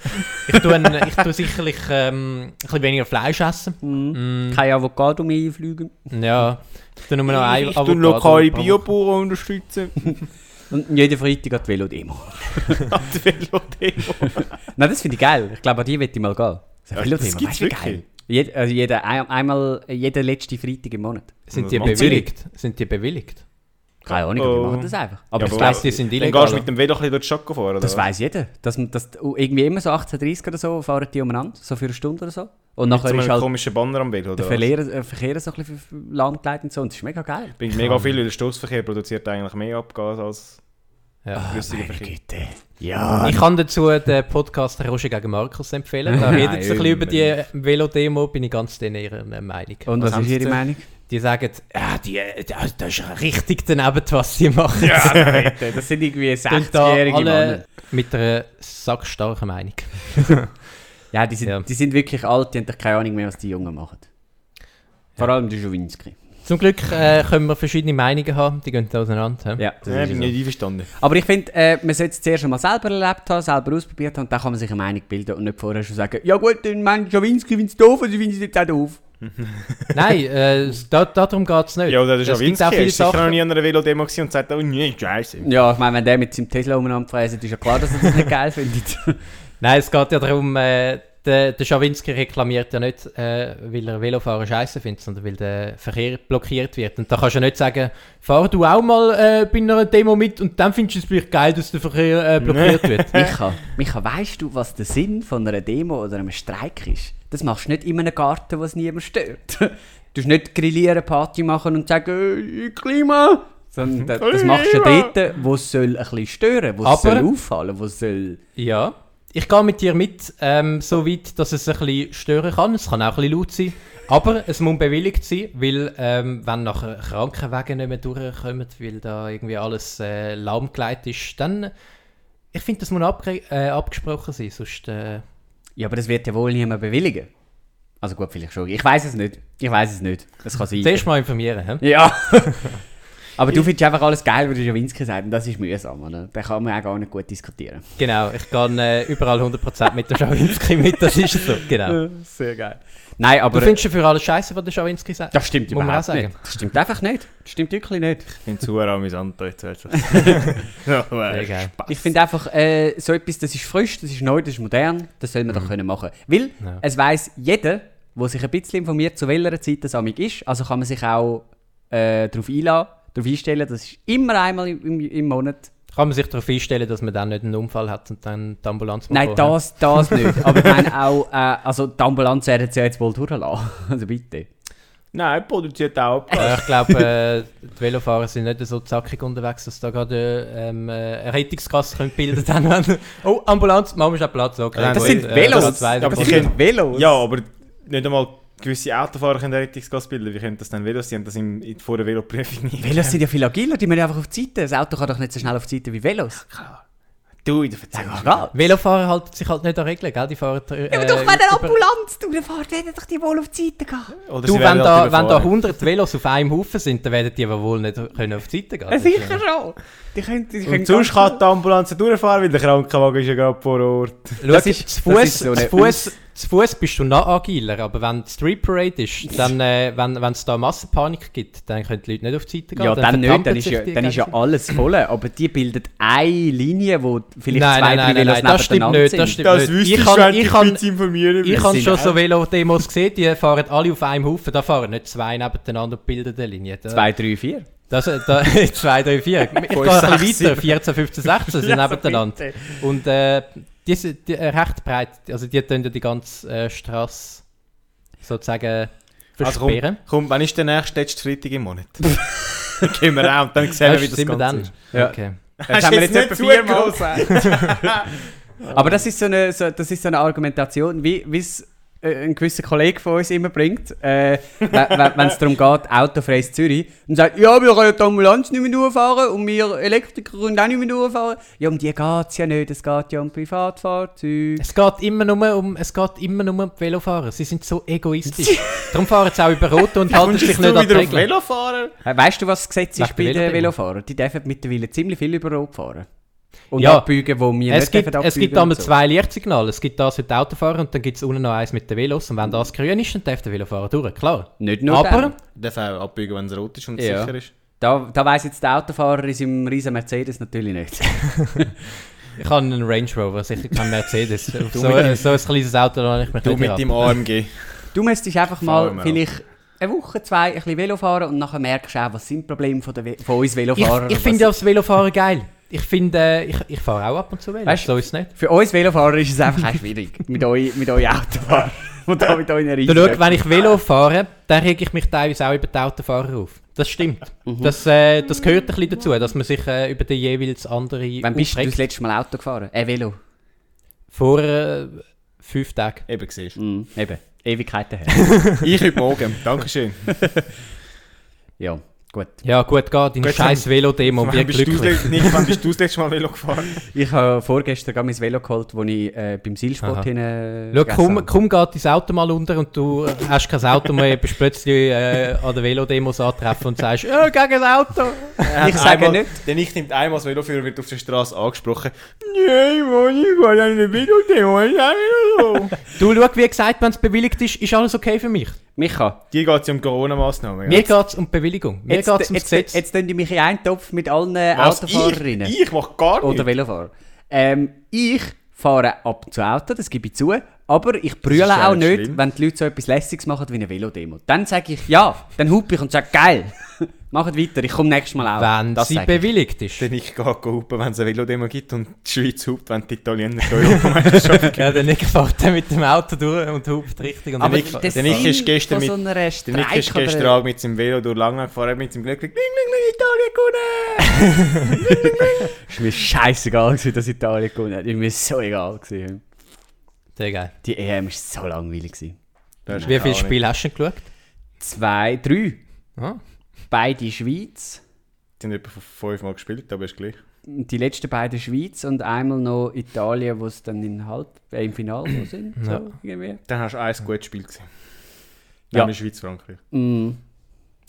Speaker 1: ich, tue, ein, ich tue sicherlich ähm, ein bisschen weniger Fleisch essen.
Speaker 3: Mhm.
Speaker 1: Mm,
Speaker 3: Kein Avocado mehr einfliegen.
Speaker 1: ja, nou, ich tue nur noch ein also
Speaker 2: Ich tue
Speaker 1: Avocado
Speaker 2: lokale
Speaker 1: pro Woche.
Speaker 2: Biobauern unterstützen.
Speaker 3: Und jeden Freitag an die Velodemo.
Speaker 2: An die Velodemo.
Speaker 3: Nein, das finde ich geil. Ich glaube, an die möchte ich mal gehen. Das
Speaker 2: Ja, das
Speaker 3: Velodemo,
Speaker 2: gibt's
Speaker 3: weißt du, wie
Speaker 2: wirklich.
Speaker 3: geil. Jed, also jeder, ein, einmal, jeden letzten Freitag im Monat.
Speaker 1: Sind die
Speaker 2: Was macht
Speaker 1: bewilligt? Sind die bewilligt?
Speaker 3: Keine Ahnung,
Speaker 2: Oh.
Speaker 3: wir machen das einfach. Aber
Speaker 2: Ja,
Speaker 3: das
Speaker 2: aber-
Speaker 3: weiss
Speaker 1: Weißt du, die sind
Speaker 2: Dann
Speaker 1: illegal.
Speaker 2: gehst du mit dem Velo ein bisschen durch die Schocke fahren, oder?
Speaker 3: Das weiß jeder. Dass, man- dass oh, irgendwie immer so 18.30 oder so fahren die umeinander, so für eine Stunde oder so. Und
Speaker 2: So
Speaker 3: nachher
Speaker 2: einen
Speaker 3: ist halt
Speaker 2: komischen Banner am Velo,
Speaker 3: der
Speaker 2: oder? was?
Speaker 3: Verlehr, äh, Verkehr so ein bisschen für- für Land geleitet und so. Und das ist mega geil.
Speaker 2: Bringt
Speaker 1: Oh.
Speaker 2: mega viel, weil der Stoßverkehr produziert eigentlich mehr Abgas als
Speaker 1: Ah, ja.
Speaker 2: flüssiger
Speaker 3: Meine
Speaker 2: Verkehr.
Speaker 3: Güte. Ja.
Speaker 1: Ah. Ich kann dazu den Podcast Roger gegen Markus empfehlen. Da redet sie ein bisschen über die Velodemo, bin ich ganz in ihrer Meinung.
Speaker 3: Und was,
Speaker 2: haben
Speaker 3: ist
Speaker 2: sie
Speaker 3: Ihre
Speaker 2: zu-
Speaker 3: Meinung?
Speaker 1: Die sagen, ja, die, das, das ist richtig daneben, was sie machen. Ja,
Speaker 3: das sind irgendwie
Speaker 1: da
Speaker 3: 60-jährige Männer.
Speaker 1: alle mit einer sackstarken Meinung.
Speaker 3: Ja die, sind,
Speaker 1: Ja.
Speaker 3: die sind wirklich alt, die haben doch keine Ahnung mehr, was die Jungen machen. Vor allem der Schowinski.
Speaker 1: Zum Glück äh, können wir verschiedene Meinungen haben, die gehen auseinander. hä?
Speaker 3: Ja, das
Speaker 2: Nein,
Speaker 3: ist
Speaker 2: bin
Speaker 3: so.
Speaker 2: nicht einverstanden.
Speaker 3: Aber ich finde, äh, man sollte es zuerst mal selber erlebt haben, selber ausprobiert haben, und dann kann man sich eine Meinung bilden und nicht vorher schon sagen, ja gut, dann meint Schowinski findet es doof, also finde ich es jetzt auch doof.
Speaker 1: Nein, äh, da, darum geht es nicht.
Speaker 2: Ja, das
Speaker 1: Es
Speaker 2: ist ja
Speaker 1: gibt
Speaker 2: Winski.
Speaker 1: auch viele
Speaker 2: Ich war sicher noch
Speaker 1: Sachen-
Speaker 2: nie an einer Velodemo gewesen und sagt, oh nee, scheiße.
Speaker 3: Ja, ich meine, wenn der mit seinem Tesla umeinander fräset, ist ja klar, dass er das nicht geil findet.
Speaker 1: Nein, es geht ja darum, äh, der, der Schawinski reklamiert ja nicht, äh, weil er Velofahrer scheiße findet, sondern weil der Verkehr blockiert wird. Und da kannst du ja nicht sagen, fahr du auch mal äh, bei einer Demo mit und dann findest du es vielleicht geil, dass der Verkehr äh, blockiert wird.
Speaker 3: Micha, Micha, weißt du, was der Sinn von einer Demo oder einem Streik ist? Das machst du nicht in einem Garten, wo es niemand stört. Du musst nicht grillieren, Party machen und sagen, «Äh, Klima! Sondern das, das machst du
Speaker 2: Klima!
Speaker 3: dort, wo es soll ein bisschen stören, wo es
Speaker 1: Aber-
Speaker 3: soll auffallen, wo es soll...
Speaker 1: Ja. Ich gehe mit dir mit, ähm, so weit, dass es ein bisschen stören kann. Es kann auch ein bisschen laut sein. Aber es muss bewilligt sein, weil ähm, wenn nachher Krankenwagen nicht mehr durchkommen, weil da irgendwie alles äh, lahmgelegt ist, dann... Ich finde, das muss abge äh, abgesprochen sein, sonst... Äh,
Speaker 3: Ja, aber das wird ja wohl niemand bewilligen. Also gut, vielleicht schon. Ich weiß es nicht. Ich weiß es nicht. Das kann sein.
Speaker 1: zuerst mal informieren. He?
Speaker 3: Ja. aber du findest einfach alles geil, was der Jawinski sagt. Und das ist mühsam, oder? Da kann man auch gar nicht gut diskutieren.
Speaker 1: Genau, ich gehe äh, überall 100% mit der Schawinski mit, das ist so, genau.
Speaker 3: Sehr geil. Nein, aber...
Speaker 1: Du findest ja für alles Scheiße, was der Schawinski sagt?
Speaker 3: Das stimmt
Speaker 1: Muss man
Speaker 3: überhaupt
Speaker 1: auch sagen.
Speaker 3: nicht. Das stimmt einfach nicht. Das stimmt wirklich nicht.
Speaker 2: Ich finde es verdammt amüsant, da jetzt weißt du. Ja,
Speaker 1: Sehr geil.
Speaker 3: Ich finde einfach, äh, so etwas, das ist frisch, das ist neu, das ist modern, das soll man doch können machen. Weil
Speaker 1: Mhm. Ja.
Speaker 3: es weiß jeder, der sich ein bisschen informiert, zu welcher Zeit das amig ist. Also kann man sich auch äh, darauf einladen, darauf einstellen. Das ist immer einmal im, im, im Monat.
Speaker 1: Kann man sich darauf einstellen, dass man dann nicht einen Unfall hat und dann die Ambulanz muss
Speaker 3: Nein,
Speaker 1: kommen?
Speaker 3: das, das nicht. Aber ich meine auch, äh, also die Ambulanz werden sie ja jetzt wohl durchlassen. Also bitte.
Speaker 1: Äh, Nou,
Speaker 2: Nein, produziert auch.
Speaker 1: Ja, ich glaube, äh, die Velofahrer sind nicht so zackig unterwegs, dass da gerade ähm, äh, eine Rettungskasse können bilden können. wenn- oh, Ambulanz, machen wir schnell Platz. Okay,
Speaker 2: Das
Speaker 1: gut,
Speaker 2: sind
Speaker 1: äh,
Speaker 2: Velos.
Speaker 1: Platz zwei,
Speaker 2: Aber
Speaker 1: Platz
Speaker 2: sie
Speaker 1: drei.
Speaker 2: können-
Speaker 3: Velos?
Speaker 2: Ja, aber nicht einmal gewisse Autofahrer können Rettungsgas bilden. Wie können das dann Velos? Die haben das in, in, vor der Veloprüfung nicht.
Speaker 1: Ähm,
Speaker 3: Velos sind ja viel agiler, die müssen einfach auf die Seite. Das Auto kann doch nicht so schnell auf die Seite wie Velos.
Speaker 2: Du, in der
Speaker 3: Ja,
Speaker 2: Verzeihung.
Speaker 3: klar.
Speaker 1: Velofahrer halten sich halt nicht an Regeln, gell? Die fahren... Äh,
Speaker 3: Ja, aber doch, wenn eine
Speaker 1: über-
Speaker 3: Ambulanz durchfährt, werden doch die wohl auf die Seite gehen.
Speaker 2: Oder
Speaker 1: Du,
Speaker 2: sie
Speaker 1: wenn
Speaker 2: werden
Speaker 1: da,
Speaker 2: halt
Speaker 1: wenn da
Speaker 2: überfahren.
Speaker 1: 100 Velos auf einem Haufen sind, dann werden die aber wohl nicht können auf die Seite gehen.
Speaker 3: Ja, sicher schon. Die können, die können
Speaker 2: Und sonst
Speaker 3: ganz-
Speaker 2: kann die Ambulanz nicht durchfahren, weil der Krankenwagen ist ja gerade vor Ort.
Speaker 1: Schau,
Speaker 3: Das
Speaker 1: das
Speaker 3: ist-
Speaker 1: ist, zu
Speaker 3: das
Speaker 1: Fuß,
Speaker 3: ist so eine
Speaker 1: zu Fuß, zu Fuß bist du noch agiler, aber wenn die Street Parade ist, dann, äh, wenn es da Massenpanik gibt, dann können die Leute nicht auf die Seite gehen.
Speaker 3: Ja, dann nicht,
Speaker 1: vertrampeln
Speaker 3: dann ist
Speaker 1: sich
Speaker 3: ja,
Speaker 1: die
Speaker 3: dann ist ja
Speaker 1: gegenseitig.
Speaker 3: alles voll. Aber die bildet eine Linie, wo vielleicht
Speaker 1: Nein, nein,
Speaker 3: zwei, drei
Speaker 1: nein,
Speaker 3: Velos
Speaker 1: nein, das stimmt
Speaker 3: nebeneinander
Speaker 1: nicht, das
Speaker 3: sind.
Speaker 1: stimmt nicht. ich kann, ich kann,
Speaker 2: informieren.
Speaker 1: ich
Speaker 2: müssen.
Speaker 1: habe
Speaker 3: sind
Speaker 1: schon
Speaker 3: auch-
Speaker 1: so Velo-Demos gesehen, die fahren alle auf einem Haufen, da fahren nicht zwei nebeneinander und bilden eine Linie. Da,
Speaker 3: Zwei, drei, vier.
Speaker 1: Das, äh, da, zwei, drei, vier. Ich gehe ein bisschen
Speaker 2: sechs,
Speaker 1: weiter,
Speaker 2: sieben.
Speaker 1: 14, 15, 16 sind
Speaker 3: Ja, so
Speaker 1: nebeneinander. Und äh, die sind die, äh, recht breit, also die tun ja die ganze äh, Straße sozusagen
Speaker 2: Also komm,
Speaker 1: versperren.
Speaker 2: komm, wann ist der nächste letzte Freitag im Monat? dann gehen wir auch und dann sehen wir,
Speaker 1: Erst
Speaker 2: wie das
Speaker 1: sind wir
Speaker 2: Ganze
Speaker 1: dann. Halt
Speaker 2: ist.
Speaker 3: Ja.
Speaker 1: Okay.
Speaker 3: Das haben wir jetzt etwa viermal
Speaker 2: gesagt.
Speaker 3: Aber das ist so eine, so, das ist so eine Argumentation, wie wie es äh, ein gewisser Kollege von uns immer bringt, äh, wenn es darum geht, autofreies Zürich, und sagt, ja, wir können die Ambulanz nicht mehr durchfahren und wir Elektriker können auch nicht mehr durchfahren. Ja, um die geht es ja nicht, es geht ja um Privatfahrzeuge.
Speaker 1: Es geht immer nur um, es geht immer nur um die Velofahrer. Sie sind so egoistisch. Darum fahren sie auch über Rot und halten
Speaker 2: Kommst
Speaker 1: sich
Speaker 2: du
Speaker 1: nicht an die
Speaker 2: wieder auf
Speaker 1: Regeln.
Speaker 2: Velofahrer?
Speaker 3: Äh, Weißt du, was das Gesetz
Speaker 1: Nach
Speaker 3: ist bei
Speaker 1: der
Speaker 3: den
Speaker 1: Velodemo.
Speaker 3: Velofahrern? Die dürfen mittlerweile ziemlich viel über Rot fahren. Und
Speaker 1: Ja.
Speaker 3: abbiegen, wo wir
Speaker 1: Es
Speaker 3: nicht
Speaker 1: gibt,
Speaker 3: dürfen
Speaker 1: es gibt
Speaker 3: abbiegen und
Speaker 1: einmal
Speaker 3: so.
Speaker 1: zwei Lichtsignale. Es gibt das für die Autofahrer und dann gibt es unten noch eins mit den Velos. Und wenn das grün ist, dann darf der Velofahrer durch, klar.
Speaker 3: Nicht nur
Speaker 1: Aber-
Speaker 3: dann.
Speaker 2: Darf auch abbiegen, wenn es rot ist und
Speaker 3: Ja.
Speaker 2: sicher ist.
Speaker 3: Da, da weiss jetzt der Autofahrer in seinem riesen Mercedes natürlich nicht.
Speaker 1: Ich habe einen Range Rover, sicher keinen Mercedes. Auf so,
Speaker 2: mit-
Speaker 1: so ein kleines Auto habe ich mich
Speaker 2: Du
Speaker 1: nicht
Speaker 2: mit
Speaker 1: heran.
Speaker 2: deinem AMG.
Speaker 3: Du müsstest einfach
Speaker 2: Fahren
Speaker 3: mal
Speaker 2: wir
Speaker 3: vielleicht eine Woche, zwei ein bisschen Velo fahren und nachher merkst du auch, was sind die Probleme von, der We von uns
Speaker 1: Ich,
Speaker 3: Velofahrer.
Speaker 1: ich
Speaker 3: was-
Speaker 1: finde ja das Velofahren geil. Ich finde, äh, ich, ich fahre auch ab und zu Velo.
Speaker 3: Weißt du-
Speaker 1: so ist es nicht.
Speaker 3: Für uns Velofahrer ist es einfach auch schwierig. mit euch mit euch Autofahrern. Und da mit euren
Speaker 1: Du
Speaker 3: Reisen.
Speaker 1: schau, wenn ich Velo fahre, dann reg ich mich teilweise auch über die Autofahrer auf. Das stimmt.
Speaker 3: Mhm.
Speaker 1: Das, äh, das gehört ein bisschen dazu, dass man sich äh, über den jeweils anderen
Speaker 3: Wann bist du
Speaker 1: aufregt.
Speaker 3: das letzte Mal Auto gefahren? Äh, Velo.
Speaker 1: Vor äh, fünf Tagen.
Speaker 2: Eben, siehst du.
Speaker 1: Hm.
Speaker 3: Mhm, eben. Ewigkeiten her.
Speaker 2: Ich heute Morgen. Dankeschön.
Speaker 3: ja. Gut.
Speaker 1: Ja, gut, geh, deine
Speaker 2: Gut,
Speaker 1: scheiß Velo-Demo,
Speaker 2: Wann
Speaker 1: wir
Speaker 2: bist, du das
Speaker 1: glücklich.
Speaker 2: letzte- Nick, wann bist du das letzte Mal Velo gefahren?
Speaker 3: Ich habe vorgestern gerade mein Velo geholt, das ich äh, beim
Speaker 1: Aha.
Speaker 3: Seilsport hin. Äh,
Speaker 1: Schau,
Speaker 3: vergessen
Speaker 1: komm,
Speaker 3: habe.
Speaker 1: komm geht dein Auto mal unter und du hast kein Auto mehr, bist plötzlich äh, an der Velodemos antreffen und sagst, äh, «Ja, gegen das Auto!»
Speaker 3: Ich sage
Speaker 2: einmal,
Speaker 3: nicht.
Speaker 2: Der Nick nimmt einmal das Veloführer, wird auf der Straße angesprochen. Nein, Mann, ich war ja eine Videodemo, ich auch wieder so.
Speaker 1: Du, schau, wie gesagt, wenn es bewilligt ist, ist alles okay für mich.
Speaker 3: Micha,
Speaker 2: Dir geht es um Corona-Massnahmen.
Speaker 1: Mir geht es um die Bewilligung, mir
Speaker 3: jetzt,
Speaker 1: geht es
Speaker 3: jetzt,
Speaker 1: ums
Speaker 3: jetzt,
Speaker 1: Gesetz.
Speaker 3: jetzt, tun die mich in einen Topf mit allen
Speaker 2: Was?
Speaker 3: Autofahrerinnen.
Speaker 2: Ich, ich mach gar
Speaker 3: Oder
Speaker 2: nichts.
Speaker 3: Velofahrer. Ähm, ich fahre ab und zu Auto, das gebe ich zu. Aber ich brülle
Speaker 2: Das ist ja
Speaker 3: auch
Speaker 2: nicht
Speaker 3: nicht,
Speaker 2: schlimm.
Speaker 3: wenn die Leute so etwas Lässiges machen wie eine Velodemo. Dann sage ich ja, dann hupe ich und sage geil, macht weiter, ich komme nächstes Mal auch.
Speaker 1: Wenn
Speaker 3: das
Speaker 1: sie
Speaker 3: sage ich.
Speaker 1: bewilligt ist.
Speaker 2: Der Nick geht hupen, wenn es eine Velodemo gibt und die Schweiz hupt, wenn die Italiener die Europameisterschaft gewinnen.
Speaker 1: Ja, der Nick fährt dann mit dem Auto durch und hupt richtig. Und
Speaker 2: Aber
Speaker 1: Nick-
Speaker 2: der
Speaker 3: Das
Speaker 2: Nick
Speaker 3: Sinn
Speaker 2: ist gestern
Speaker 3: von
Speaker 2: mit-
Speaker 3: so einer
Speaker 2: Der Nick ist
Speaker 3: Streik
Speaker 2: gestern
Speaker 3: oder-
Speaker 2: Abend mit seinem Velo durch Langnau gefahren, hat mit seinem Glück gesagt, «Bling, bling, bling, Italien gewonnen!»
Speaker 3: Ist mir scheißegal gewesen, dass Italien gewonnen hat. Ist mir so egal gewesen.
Speaker 1: Sehr geil.
Speaker 3: Die EM war so langweilig. Gewesen.
Speaker 2: Das ist
Speaker 1: Wie viele
Speaker 2: gar nicht.
Speaker 1: Spiele hast du denn geschaut?
Speaker 3: Zwei, drei.
Speaker 1: Ah.
Speaker 3: Beide Schweiz.
Speaker 2: Die haben etwa fünfmal gespielt, aber ist gleich.
Speaker 3: Die letzten beiden Schweiz und einmal noch Italien, wo es dann in Halb äh, im Finale noch sind.
Speaker 1: Ja.
Speaker 3: So, irgendwie.
Speaker 2: Dann hast du ein gutes Spiel gesehen.
Speaker 3: Ja.
Speaker 2: Nämlich Schweiz-Frankreich.
Speaker 3: Mm.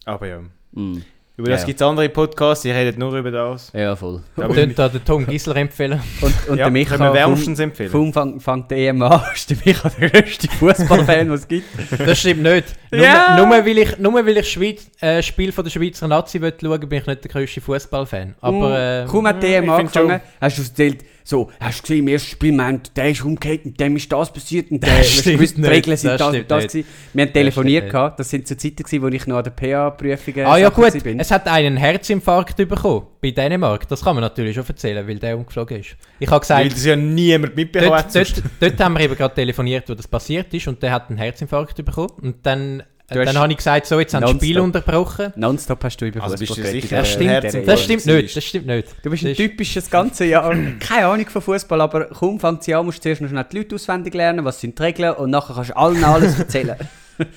Speaker 2: Aber ja.
Speaker 3: Mm.
Speaker 2: Über das
Speaker 3: Ja, ja.
Speaker 2: gibt es andere Podcasts, die reden nur über das.
Speaker 3: Ja, voll.
Speaker 2: Aber
Speaker 1: Könnt da den Tom Gisler empfehlen?
Speaker 3: Und, und
Speaker 2: Ja,
Speaker 3: der Micha
Speaker 2: können wir
Speaker 3: vom,
Speaker 2: wärmstens empfehlen.
Speaker 3: vom fang, fängt der EM an, ist der Micha der grösste Fußballfan, den es gibt.
Speaker 1: Das stimmt nicht. Nur,
Speaker 3: Ja.
Speaker 1: nur weil ich, nur weil ich Schweiz, äh, Spiel von der Schweizer Nazi will schauen bin ich nicht der grösste Fußballfan. Aber äh,
Speaker 3: Mm. Kaum hat die
Speaker 2: ich
Speaker 3: EM
Speaker 2: find
Speaker 3: angefangen, hast du erzählt, so, hast du gesehen, im ersten Spiel, wir haben, der ist umgekehrt und dem ist das passiert und der
Speaker 1: Das
Speaker 3: hast du
Speaker 1: stimmt
Speaker 3: gewusst, die
Speaker 1: nicht,
Speaker 3: Regeln sind
Speaker 1: das
Speaker 3: das und
Speaker 1: stimmt
Speaker 3: das
Speaker 1: nicht.
Speaker 3: gewesen. Wir haben
Speaker 1: nicht.
Speaker 3: telefoniert, gehabt, das sind so Zeiten gewesen, wo ich noch an der PA-Prüfung
Speaker 1: ah ja gut, es hat einen Herzinfarkt bekommen bei Dänemark. Das kann man natürlich schon erzählen, weil der umgeflogen ist. Ich habe
Speaker 2: Weil
Speaker 1: gesagt,
Speaker 2: das ja niemand mitbekommen hat.
Speaker 1: dort, dort, dort haben wir eben gerade telefoniert, wo das passiert ist und der hat einen Herzinfarkt bekommen. Und dann,
Speaker 3: Du hast
Speaker 1: dann habe ich gesagt, so jetzt haben das Spiel
Speaker 3: nonstop.
Speaker 1: unterbrochen.
Speaker 3: Nonstop hast du über
Speaker 2: Also bist du
Speaker 3: Fußball geredet.
Speaker 2: sicher?
Speaker 1: Das
Speaker 2: Äh,
Speaker 1: stimmt,
Speaker 2: Herzinfarkt
Speaker 1: das stimmt
Speaker 2: war.
Speaker 1: nicht, das stimmt nicht.
Speaker 3: Du bist ein
Speaker 1: Das
Speaker 3: typisch das ganze Jahr, keine Ahnung von Fußball, aber kaum fängt sie an, musst du zuerst noch schnell die Leute auswendig lernen, was sind die Regeln und nachher kannst du allen alles erzählen. Ich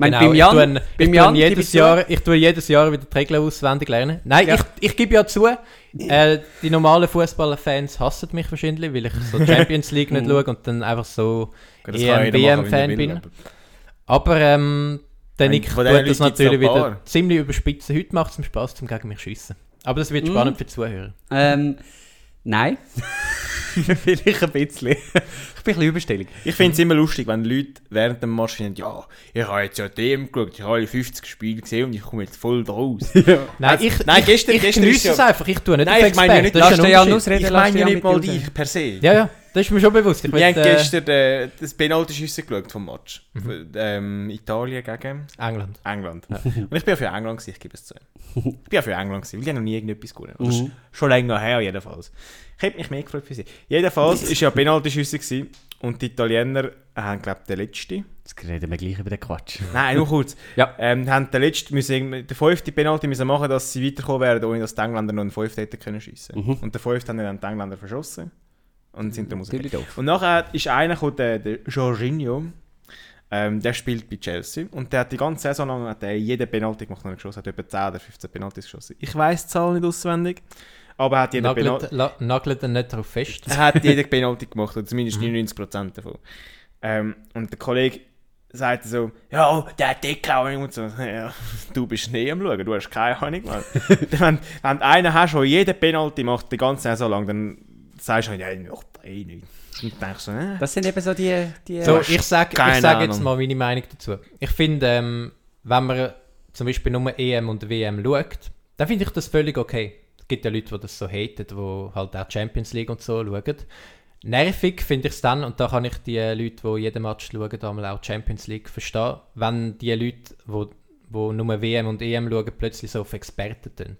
Speaker 3: meine,
Speaker 1: Genau,
Speaker 3: beim
Speaker 1: ich
Speaker 3: Jan,
Speaker 1: tue, ein- ich
Speaker 3: beim
Speaker 1: tue
Speaker 3: Jan gebe ich
Speaker 1: jedes
Speaker 3: zu,
Speaker 1: Jahr, ich tue jedes Jahr wieder die Regeln auswendig lernen. Nein,
Speaker 3: Ja.
Speaker 1: ich, ich gebe ja zu, äh, die normalen Fußballfans hassen mich wahrscheinlich, weil ich so die Champions League nicht schaue und dann einfach so
Speaker 2: Das kann jeder machen, wie er
Speaker 1: EM-WM-Fan
Speaker 2: will,
Speaker 1: bin.
Speaker 2: aber-
Speaker 1: Aber ähm, der
Speaker 2: Ein-
Speaker 1: Nick tut
Speaker 2: von diesen
Speaker 1: das
Speaker 2: Leuten gibt's
Speaker 1: natürlich
Speaker 2: noch ein
Speaker 1: wieder
Speaker 2: paar.
Speaker 1: ziemlich überspitzen. Heute macht es mir Spass, zum gegen mich schiessen. Aber das
Speaker 2: Mm.
Speaker 1: wird
Speaker 3: Mhm.
Speaker 1: spannend für die Zuhörer.
Speaker 3: Ähm, nein. Vielleicht ein bisschen. Ich bin ein bisschen überstellig.
Speaker 2: Ich finde es immer lustig, wenn Leute während dem Match sagen, ja, ich habe jetzt ja dem geschaut, ich habe alle 50 Spiele gesehen und ich komme jetzt voll raus.
Speaker 1: Nein,
Speaker 2: Also,
Speaker 1: ich,
Speaker 2: nein,
Speaker 1: ich,
Speaker 2: gestern-
Speaker 1: ich
Speaker 2: gestern
Speaker 1: geniesse
Speaker 2: ist ja-
Speaker 1: es einfach. Ich tue nicht
Speaker 2: Nein,
Speaker 1: auf
Speaker 2: ich meine ja
Speaker 1: Expert,
Speaker 2: nicht-
Speaker 1: das ist
Speaker 3: Lass den
Speaker 1: ein
Speaker 3: Jan
Speaker 1: Unterschied.
Speaker 3: ausreden,
Speaker 2: ich
Speaker 3: lass
Speaker 2: meine
Speaker 3: den
Speaker 2: ja
Speaker 3: Jan
Speaker 2: nicht
Speaker 3: mit
Speaker 2: mal
Speaker 3: dir reden.
Speaker 2: dich per se.
Speaker 1: Ja, ja, das ist mir schon bewusst. Ich
Speaker 2: Wir haben
Speaker 1: will, äh, Mhm.
Speaker 2: gestern äh, das Penaltyschiessen geschaut vom Match. Für, Ähm, Italien gegen
Speaker 1: England.
Speaker 2: England. Und ich bin ja für England, gewesen, ich gebe es zu. Ich bin ja für England, gewesen, weil die haben noch nie irgendetwas gewonnen. Das
Speaker 1: Mhm.
Speaker 2: ist schon länger her jedenfalls. Ich hätte mich mehr gefreut für sie. Jedenfalls war ja Penaltyschüsse gewesen und die Italiener haben, glaube ich, den letzten.
Speaker 3: Jetzt reden wir gleich über den Quatsch.
Speaker 2: Nein, nur kurz.
Speaker 3: Ja.
Speaker 2: Ähm, haben den letzten, müssen, irgendwie- den fünften Penalty müssen machen, dass sie weiterkommen werden, ohne dass die Engländer noch einen fünften hätten können schiessen. Und den fünften haben dann die Engländer verschossen und sind dann
Speaker 3: Natürlich
Speaker 2: rausgekommen.
Speaker 3: doof.
Speaker 2: Und nachher ist einer gekommen, der, der Jorginho, ähm, der spielt bei Chelsea und der hat die ganze Saison lang hat er jeden Penalty gemacht und er geschossen, hat etwa 10 oder 15 Penaltys geschossen. Ich weiss die Zahl nicht auswendig, aber er hat jeden Penalty...
Speaker 1: Nagelt, la, nagelt ihn nicht darauf fest.
Speaker 2: Er hat jeder Penalty gemacht, oder zumindest 99% davon. Ähm, und der Kollege sagte so, ja, oh, der hat dicke Ahnung und so. Ja, du bist nie am Schauen, du hast keine Ahnung, Mann. wenn, wenn du einen hast, der jeden Penalty macht, die ganze Saison lang, dann sagst du, ja, ich mach eh nicht. Und denkst so, äh.
Speaker 3: Das sind eben so die... die
Speaker 1: So,
Speaker 2: hast
Speaker 1: ich sage
Speaker 2: keine
Speaker 1: ich sag jetzt
Speaker 2: Ahnung.
Speaker 1: mal meine Meinung dazu. Ich finde, ähm, wenn man zum Beispiel nur EM und WM schaut, dann finde ich das völlig okay. Es gibt ja Leute, die das so haten, die halt auch Champions League und so schauen. Nervig finde ich es dann, und da kann ich die Leute, die jeden Match schauen, einmal auch Champions League verstehen, wenn die Leute, die wo nur WM und EM schauen, plötzlich so auf Experten tun.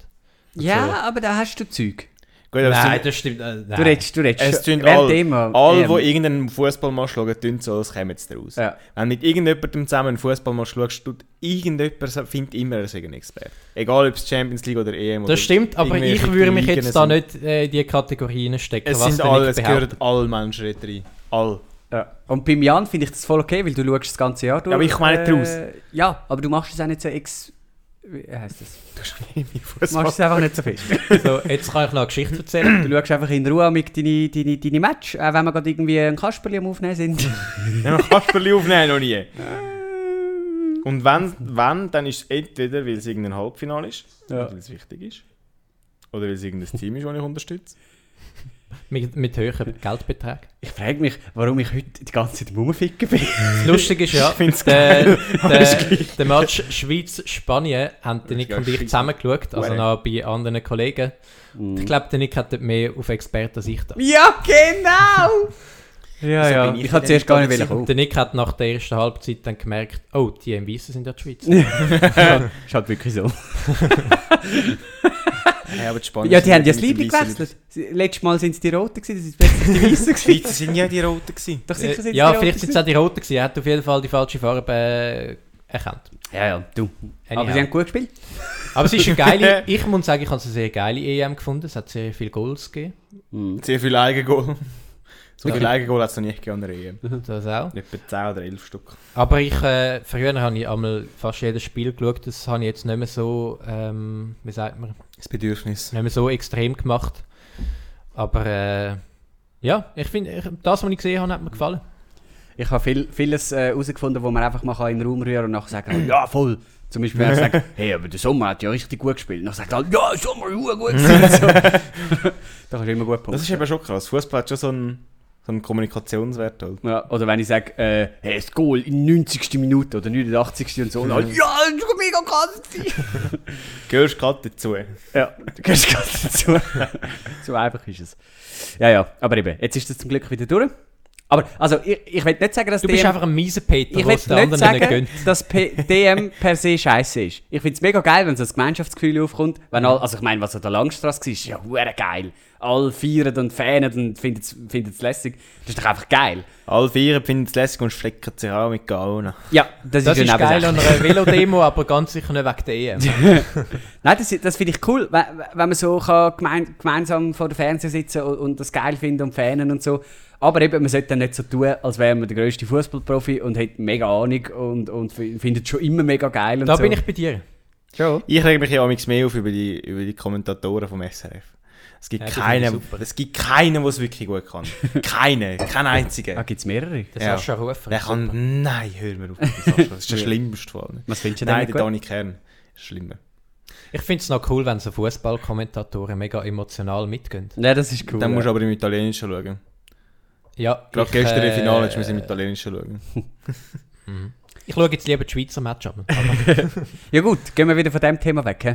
Speaker 3: ja,
Speaker 1: so.
Speaker 3: aber da hast du Zeug.
Speaker 2: Gut, aber es sind-
Speaker 1: das stimmt. äh, nein.
Speaker 3: Du redest, du redest.
Speaker 2: es tun
Speaker 3: Während
Speaker 2: alle,
Speaker 3: immer,
Speaker 2: alle,
Speaker 3: ähm,
Speaker 2: die irgendeinen Fußballmatch schauen, tun so, als kämen sie raus.
Speaker 3: Ja.
Speaker 2: Wenn du mit irgendjemandem zusammen einen Fußballmatch schaust, tut irgendjemand, findet immer, er sei ein Experte. Egal, ob es Champions League oder EM oder
Speaker 1: Das stimmt, aber ich
Speaker 2: irgendwelche
Speaker 1: würde mich
Speaker 2: Ligen
Speaker 1: jetzt da
Speaker 2: sind.
Speaker 1: nicht äh, in die Kategorien stecken,
Speaker 2: Es
Speaker 1: was
Speaker 2: sind
Speaker 1: der Nick
Speaker 2: alle, es
Speaker 1: behauptet.
Speaker 2: gehören alle Menschen dort rein. All.
Speaker 3: Ja. Und beim Jan finde ich das voll okay, weil du schaust das ganze Jahr durch. Äh,
Speaker 2: aber ich komme nicht raus.
Speaker 3: Ja, aber du machst es auch nicht so ex Wie heisst das?
Speaker 2: Du hast doch nie
Speaker 3: Du machst
Speaker 2: Fußball.
Speaker 3: es einfach nicht so fest.
Speaker 1: So, jetzt kann ich noch eine Geschichte erzählen.
Speaker 3: Du schaust einfach in Ruhe mit deine, deine, deine Match, auch wenn wir gerade irgendwie ein Kasperli am Aufnehmen sind.
Speaker 2: Nehmen wir Kasperli aufnehmen noch nie. Und wenn, wenn, dann ist es entweder, weil es irgendein Halbfinale ist,
Speaker 3: Ja.
Speaker 2: oder weil es wichtig ist, oder weil es irgendein Team ist, das ich unterstütze.
Speaker 1: Mit, mit höheren Geldbeträgen.
Speaker 3: Ich frage mich, warum ich heute die ganze Zeit Mummenficken bin.
Speaker 1: Das Lustige ist ja,
Speaker 2: Ich find's
Speaker 1: der, der, der Match Schweiz-Spanien haben der
Speaker 2: Das ist
Speaker 1: Nick und
Speaker 2: geil.
Speaker 1: ich zusammen geschaut, also
Speaker 2: Hure.
Speaker 1: noch bei anderen Kollegen.
Speaker 3: Mm.
Speaker 1: Ich glaube, der Nick hat dort mehr auf Expertensicht.
Speaker 3: Ja, genau! Ja,
Speaker 2: Wieso
Speaker 3: ja.
Speaker 2: bin ich
Speaker 3: Ich hatte
Speaker 2: denn
Speaker 3: zuerst gar nicht
Speaker 2: nicht
Speaker 3: wollen kommen.
Speaker 1: Der Nick hat nach der ersten Halbzeit dann gemerkt, oh, die im Weissen sind ja die Schweiz.
Speaker 3: ist halt wirklich so.
Speaker 2: Hey, aber die Spanier
Speaker 3: Ja, die
Speaker 2: sind
Speaker 3: haben ja das
Speaker 2: mit dem
Speaker 3: Liebling
Speaker 2: Weissen nicht-
Speaker 3: gewechselt. Sie- Letztes Mal waren es die Roten, gewesen, das ist plötzlich die Weißen
Speaker 2: Die
Speaker 3: gewesen.
Speaker 2: Schweizer sind ja die Roten gewesen.
Speaker 3: Doch sicher sind
Speaker 1: Äh,
Speaker 3: es
Speaker 1: ja,
Speaker 3: die
Speaker 1: vielleicht
Speaker 3: Roten
Speaker 1: sind es auch die Roten gewesen. Er hat auf jeden Fall die falsche Farbe äh, erkannt.
Speaker 3: gewesen. Ja, ja, du.
Speaker 1: Anyhow.
Speaker 3: Aber sie haben gut gespielt.
Speaker 1: Aber es ist eine geile, ich muss sagen, ich habe es eine sehr geile EM gefunden. Es hat sehr viele Goals gegeben.
Speaker 2: Sehr viel Eigengoal. So viel Eigengoal hat es noch nicht gegeben an der EM.
Speaker 3: Mhm.
Speaker 1: Das auch.
Speaker 2: Etwa 10 oder 11 Stück.
Speaker 1: Aber ich, äh, früher habe ich einmal fast jedes Spiel geschaut, das habe ich jetzt nicht mehr so, ähm, wie sagt man,
Speaker 2: Das Bedürfnis.
Speaker 1: nicht mehr so extrem gemacht. Aber äh, ja, ich finde, ich- das, was ich gesehen habe, hat mir gefallen.
Speaker 3: Ich habe viel, vieles äh, herausgefunden, wo man einfach mal kann in den Raum rühren und nachher sagen ja, voll. Zum Beispiel, wenn er sagt, hey, aber der Sommer hat ja richtig gut gespielt. Und dann sagt er, halt, ja, der Sommer hat verdammt gut gespielt. so. da kannst du immer gut
Speaker 2: Das
Speaker 3: punkten.
Speaker 2: ist eben schon krass. Fußball hat schon so einen, so einen Kommunikationswert. Halt.
Speaker 3: Ja, oder wenn ich sage, äh, hey, das Goal in 90. Minute oder 89. und so, und
Speaker 1: Mhm.
Speaker 3: dann, ja, das war mega krass. gewesen.»
Speaker 2: Gehörst gerade dazu.
Speaker 3: ja, du gehst ganz dazu. so einfach ist es. Ja, ja, aber eben, jetzt ist das zum Glück wieder durch. Aber, also, ich, ich will nicht sagen, dass
Speaker 1: Du bist
Speaker 3: DM
Speaker 1: einfach ein mieser Peter,
Speaker 3: Ich
Speaker 1: der es den
Speaker 3: will nicht
Speaker 1: anderen nicht
Speaker 3: sagen,
Speaker 1: gönnt.
Speaker 3: dass P DM per se scheiße ist. Ich finde es mega geil, wenn so ein Gemeinschaftsgefühl aufkommt. Wenn all, also ich meine, was an der Langstrasse war, ist ja hure geil. Alle feiern und fanen und finden es lässig. Das ist doch einfach geil.
Speaker 2: Alle vier finden es lässig und schlecken sich an mit Gauna.
Speaker 3: Ja, das,
Speaker 1: Das
Speaker 3: ist,
Speaker 1: ist
Speaker 3: ja
Speaker 1: geil an
Speaker 3: geil.
Speaker 1: einer Velodemo, aber ganz sicher nicht wegen der E EM.
Speaker 3: Nein, das, das finde ich cool, wenn, wenn man so kann gemein, gemeinsam vor dem Fernseher sitzen und, und das geil finden und fanen und so. Aber eben, man sollte dann nicht so tun, als wäre man der grösste Fußballprofi und hätte mega Ahnung und, und findet es schon immer mega geil. Und
Speaker 1: Da
Speaker 3: so.
Speaker 1: bin ich bei dir.
Speaker 3: schon.
Speaker 2: Ich reg mich ja amigs mehr auf über die, über die Kommentatoren vom SRF. Es gibt
Speaker 1: Ja, die
Speaker 2: keinen,
Speaker 1: finde ich super.
Speaker 2: es gibt keinen, der es wirklich gut kann. Keinen, kein
Speaker 3: Ah,
Speaker 2: einziger.
Speaker 3: gibt es mehrere?
Speaker 1: Der
Speaker 2: Ja.
Speaker 1: Sascha Rufer.
Speaker 2: Der kann, nein, hör mir auf. mit dem Sascha. Das ist der schlimmste von allen.
Speaker 3: Was findest du denn
Speaker 2: Nein,
Speaker 3: nicht
Speaker 2: der
Speaker 3: gut?
Speaker 2: Dani Kern ist schlimmer.
Speaker 1: Ich finde es noch cool, wenn so Fußballkommentatoren mega emotional mitgehen.
Speaker 3: Nein, das ist cool.
Speaker 2: Dann
Speaker 1: äh,
Speaker 3: ja.
Speaker 2: musst du aber im Italienischen schauen.
Speaker 1: Ja,
Speaker 2: Gerade gestern
Speaker 1: äh,
Speaker 2: im Finale hast du im Italienischen schauen.
Speaker 1: Ich schaue jetzt lieber die Schweizer Also Match an.
Speaker 3: Ja gut, gehen wir wieder von dem Thema weg. hä?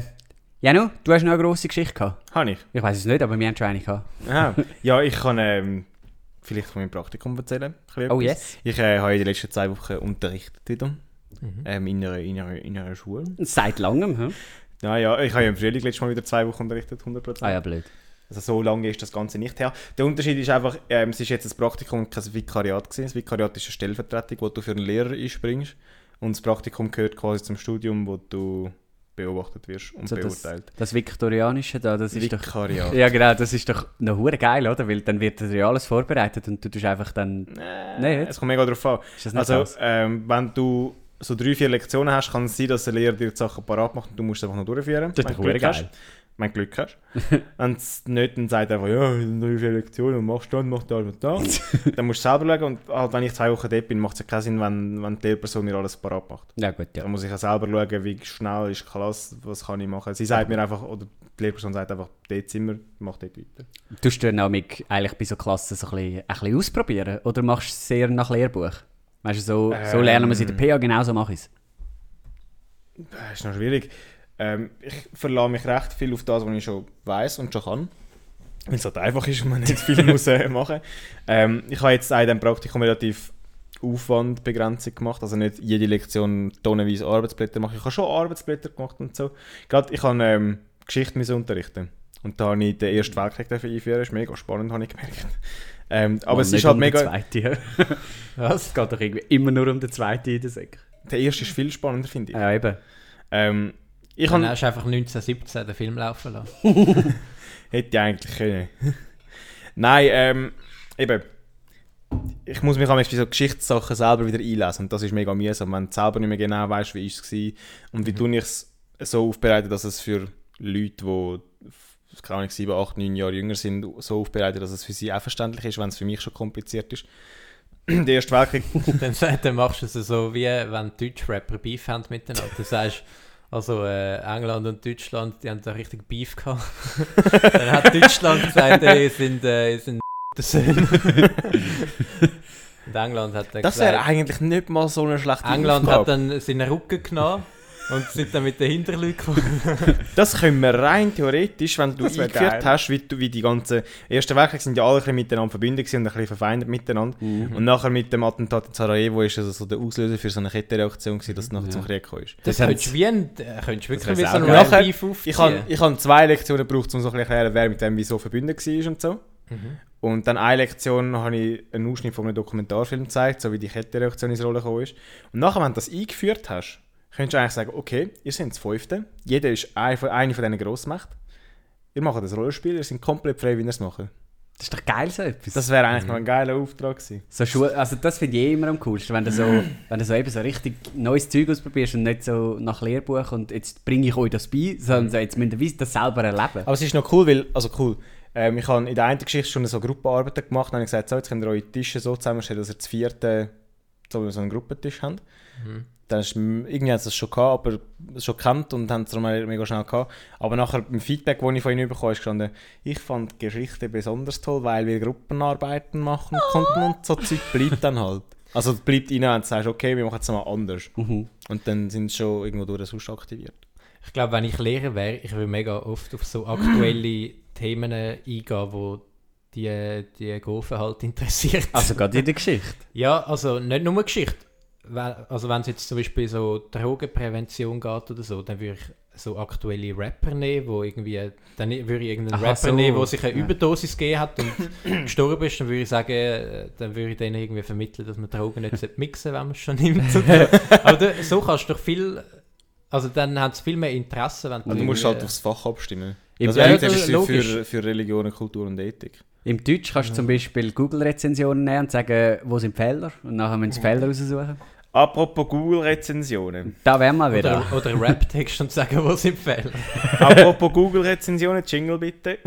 Speaker 3: Janu, du hast noch eine grosse Geschichte gehabt.
Speaker 2: Habe ich.
Speaker 3: Ich weiß es nicht, aber wir haben schon eine gehabt.
Speaker 2: Aha. ja, ich kann ähm, vielleicht von meinem Praktikum erzählen. Ein bisschen
Speaker 3: Oh
Speaker 2: etwas.
Speaker 3: yes.
Speaker 2: Ich äh, habe in den letzten zwei Wochen unterrichtet wieder.
Speaker 3: Mhm.
Speaker 2: Ähm, in, einer, in, einer, in einer Schule.
Speaker 3: Seit langem, hä?
Speaker 2: Naja, ich habe ja im Frühling letztes Mal wieder zwei Wochen unterrichtet, 100%.
Speaker 3: Ah ja, blöd.
Speaker 2: Also so lange ist das Ganze nicht her. Der Unterschied ist einfach, ähm, es ist jetzt ein Praktikum und kein Vikariat gewesen. Das Vikariat ist eine Stellvertretung, wo du für einen Lehrer einspringst. Und das Praktikum gehört quasi zum Studium, wo du beobachtet wirst und
Speaker 3: So das,
Speaker 2: beurteilt.
Speaker 3: das Viktorianische da, das ist doch...
Speaker 2: Vikariat.
Speaker 3: Ja genau, das ist doch noch hure geil, oder? Weil dann wird dir ja alles vorbereitet und du tust einfach dann... Nein, jetzt
Speaker 2: Es kommt mega darauf an.
Speaker 3: ist das nicht
Speaker 2: Also,
Speaker 3: also,
Speaker 2: ähm, wenn du so drei, vier Lektionen hast, kann es sein, dass der Lehrer dir die Sachen parat macht und du musst es einfach noch durchführen.
Speaker 3: Das ist
Speaker 2: wenn
Speaker 3: doch
Speaker 2: du Glück
Speaker 3: verdammt
Speaker 2: hast.
Speaker 3: geil.
Speaker 2: Wenn du Glück hast. Wenn es nicht, dann sagt er einfach, ja, drei, vier Lektionen und machst dann, machst das und das. dann musst du selber schauen und halt, wenn ich zwei Wochen dort bin, macht es ja keinen Sinn, wenn, wenn die Lehrperson mir alles parat macht.
Speaker 3: Ja gut, ja.
Speaker 2: Dann muss ich ja selber schauen, wie schnell ist die Klasse, was kann ich machen. Sie sagt mir einfach, oder die Lehrperson sagt einfach, dort sind wir, mach dort weiter.
Speaker 3: Tust du dann auch mit, eigentlich bei so Klassen so ein bisschen, ein bisschen ausprobieren? Oder machst du es sehr nach Lehrbuch? Weißt du, so,
Speaker 2: Ähm.
Speaker 3: so lernen wir es in der PA, genau so mache ich es.
Speaker 2: Das Äh, ist noch schwierig. Ähm, ich verlasse mich recht viel auf das, was ich schon weiß und schon kann. Weil es halt einfach ist und man nicht viel muss äh, machen ähm, Ich habe jetzt auch in diesem Praktikum relativ Aufwandbegrenzung gemacht. Also nicht jede Lektion tonnenweise Arbeitsblätter machen. Ich habe schon Arbeitsblätter gemacht und so. Gerade ich habe ähm, Geschichte müssen unterrichten. Und da habe ich den
Speaker 3: Mhm.
Speaker 2: Ersten Weltkrieg dafür einführen. ist mega spannend, habe ich gemerkt. Ähm, aber
Speaker 3: Und
Speaker 2: es
Speaker 3: nicht
Speaker 2: ist halt
Speaker 3: um den
Speaker 2: mega...
Speaker 3: Zweiten, ja. Es geht doch irgendwie immer nur um den zweiten in der Säck.
Speaker 2: Der Erste ist viel spannender, finde ich.
Speaker 3: Ja, eben.
Speaker 2: Ähm, ich
Speaker 1: Dann
Speaker 2: habe
Speaker 1: hast du einfach 1917 den Film laufen lassen.
Speaker 2: Hätte ich eigentlich können. Nein, ähm, eben. Ich muss mich manchmal bei so
Speaker 1: Mhm.
Speaker 2: Geschichtssachen selber wieder einlesen. Und das ist mega mühsam, wenn du selber nicht mehr genau weißt, wie war es war und wie tue ich es so aufbereitet, dass es für Leute, die keine Ahnung, 7, 8, 9 Jahre jünger sind, so aufbereitet, dass es für sie auch verständlich ist, wenn es für mich schon kompliziert ist. Der Erste Weltkrieg
Speaker 1: dann, dann machst du es so, wie wenn Deutschrapper Beef haben miteinander. Du sagst, also äh, England und Deutschland, die haben da richtig Beef gehabt. dann hat Deutschland gesagt, ey, ihr sind, äh, ihr sind Söhne. und England hat dann
Speaker 2: Das wäre
Speaker 1: gesagt,
Speaker 2: eigentlich nicht mal so eine schlechte
Speaker 1: England hat
Speaker 2: Aufgabe.
Speaker 1: dann seinen Rücken genommen und sind dann mit den Hinterleuten gekommen.
Speaker 2: Das können wir rein theoretisch, wenn du
Speaker 4: Das wär
Speaker 2: eingeführt
Speaker 4: geil.
Speaker 2: hast, wie, du- wie die ganzen Ersten Weltkrieg sind ja alle ein bisschen miteinander verbündet gewesen und ein bisschen verfeindet miteinander.
Speaker 4: Mhm.
Speaker 2: Und nachher mit dem Attentat in Sarajevo ist also so der Auslöser für so eine Kettenreaktion gewesen, dass es nachher zum Krieg gekommen ist.
Speaker 1: Das
Speaker 3: haben
Speaker 1: könntest du wie ein, äh, könntest du wirklich
Speaker 2: wär's
Speaker 1: wie so
Speaker 2: auch
Speaker 1: ein
Speaker 2: geil.
Speaker 1: Rap
Speaker 2: Nachher-
Speaker 1: Beef aufziehen.
Speaker 2: Ich habe ich hab zwei Lektionen gebraucht, um so ein bisschen zu erklären, wer mit dem wieso verbündet war und so.
Speaker 1: Mhm.
Speaker 2: Und dann eine Lektion habe ich einen Ausschnitt von einem Dokumentarfilm gezeigt, so wie die Kettenreaktion ins Rollen gekommen ist. Und nachher, wenn du das eingeführt hast, könntest du eigentlich sagen, okay, ihr seid das Fünfte, jeder ist ein von- eine von diesen Grossmächten. Ihr macht das Rollenspiel, ihr seid komplett frei, wie ihr es macht.
Speaker 3: Das ist doch geil, so etwas.
Speaker 2: Das wäre
Speaker 1: Mhm.
Speaker 2: eigentlich noch ein geiler Auftrag gewesen.
Speaker 3: So Schu also das finde ich eh immer am coolsten, wenn du so, wenn du so eben so richtig neues Zeug ausprobierst und nicht so nach Lehrbuch und jetzt bringe ich euch das bei, sondern so, jetzt müsst ihr wie das selber erleben.
Speaker 2: Aber es ist noch cool, weil, also cool, ähm, ich habe in der einen Geschichte schon so Gruppenarbeiten gemacht, dann habe ich gesagt, so, jetzt könnt ihr eure Tische so zusammenstellen, dass ihr zu vierten so, so einen Gruppentisch habt. Dann ist, irgendwie hat es das schon gehabt, aber schon kennt und haben es darum mega schnell gehabt. Aber nachher im Feedback, das ich von ihnen bekommen habe, ist gestanden, ich fand die Geschichte besonders toll, weil wir Gruppenarbeiten machen konnten und so Zeug bleibt dann halt. Also es bleibt ihnen, wenn du sagst, okay, wir machen es mal anders. Und dann sind sie schon irgendwo durch den Susch aktiviert.
Speaker 1: Ich glaube, wenn ich Lehrer wäre, ich würde mega oft auf so aktuelle Themen eingehen, wo die, die Gofen halt interessiert.
Speaker 3: Also gerade in der Geschichte.
Speaker 1: Ja, also nicht nur Geschichte. Weil- Also wenn es jetzt zum Beispiel so Drogenprävention geht oder so, dann würde ich so aktuelle Rapper nehmen, wo irgendwie, dann würde ich irgendeinen
Speaker 3: Aha,
Speaker 1: Rapper
Speaker 3: so.
Speaker 1: nehmen, der sich eine
Speaker 3: Ja.
Speaker 1: Überdosis gegeben hat und gestorben ist, dann würde ich sagen, äh, dann würde ich denen irgendwie vermitteln, dass man Drogen nicht sollte mixen wenn man es schon nimmt. Aber da, so kannst du doch viel, also dann hat es viel mehr Interesse, wenn
Speaker 2: Und du
Speaker 1: irgendwie-
Speaker 2: musst halt aufs Fach abstimmen.
Speaker 3: Im
Speaker 2: Das wäre
Speaker 1: Ja,
Speaker 2: jetzt
Speaker 1: das
Speaker 2: eben
Speaker 1: ist
Speaker 2: für,
Speaker 1: logisch.
Speaker 2: für, für Religion, Kultur und Ethik.
Speaker 3: Im Deutsch kannst du zum Beispiel Google-Rezensionen nehmen und sagen, wo sind die Fehler und nachher müssen sie die Fehler raussuchen.
Speaker 2: Apropos Google-Rezensionen.
Speaker 3: Da wären wir wieder.
Speaker 1: oder, oder Rap-Text und sagen, wo sind die Fehler.
Speaker 2: Apropos Google-Rezensionen, Jingle bitte.